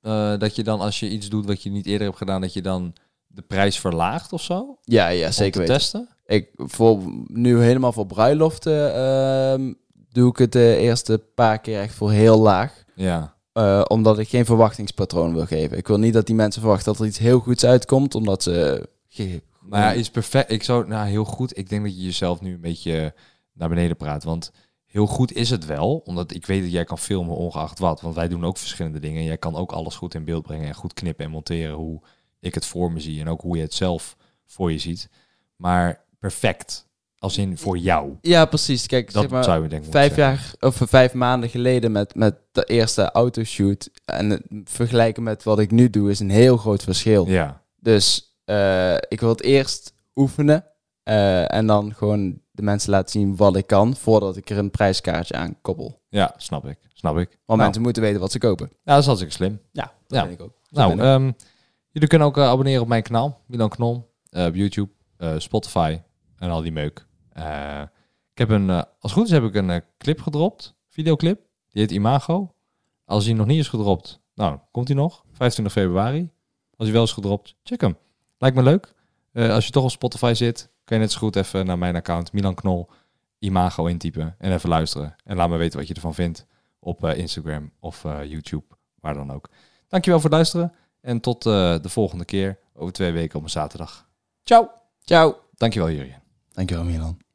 eh, dat je dan als je iets doet wat je niet eerder hebt gedaan, dat je dan de prijs verlaagt of zo? Ja, ja om te zeker weten. testen? Ik, voor, nu helemaal voor bruiloften ehm, doe ik het de eerste paar keer echt voor heel laag. Ja. Eh, omdat ik geen verwachtingspatroon wil geven. Ik wil niet dat die mensen verwachten dat er iets heel goeds uitkomt, omdat ze... ge- Maar ja, is perfect. Ik zou, nou heel goed, ik denk dat je jezelf nu een beetje naar beneden praat, want heel goed is het wel, omdat ik weet dat jij kan filmen ongeacht wat, want wij doen ook verschillende dingen. Jij kan ook alles goed in beeld brengen en goed knippen en monteren hoe ik het voor me zie en ook hoe je het zelf voor je ziet. Maar perfect, als in voor jou. Ja, precies. Kijk, Dat zeg maar, zou je denk ik moeten vijf zeggen. jaar of vijf maanden geleden met, met de eerste autoshoot en het vergelijken met wat ik nu doe is een heel groot verschil. Ja. Dus eh, ik wil het eerst oefenen eh, en dan gewoon de mensen laten zien wat ik kan voordat ik er een prijskaartje aan koppel. Want Ja, snap ik. Snap ik. Nou. mensen moeten weten wat ze kopen. Ja, dat is hartstikke slim. Ja, Ja. vind ik ook. nou, ben ik. ehm, jullie kunnen ook eh, abonneren op mijn kanaal, Milan Knol, eh, op YouTube, eh, Spotify en al die meuk. Eh, ik heb een, eh, als het goed is heb ik een eh, clip gedropt, videoclip, die heet Imago. Als die nog niet is gedropt, nou, komt die nog, 25 februari. Als hij wel is gedropt, check hem. Lijkt me leuk. Eh, als je toch op Spotify zit, kun je net zo goed even naar mijn account, Milan Knol, Imago intypen en even luisteren. En laat me weten wat je ervan vindt op eh, Instagram of eh, YouTube, waar dan ook. Dankjewel voor het luisteren. En tot eh, de volgende keer over twee weken op een zaterdag. Ciao. Ciao. Dankjewel, Jurien. Dankjewel Milan.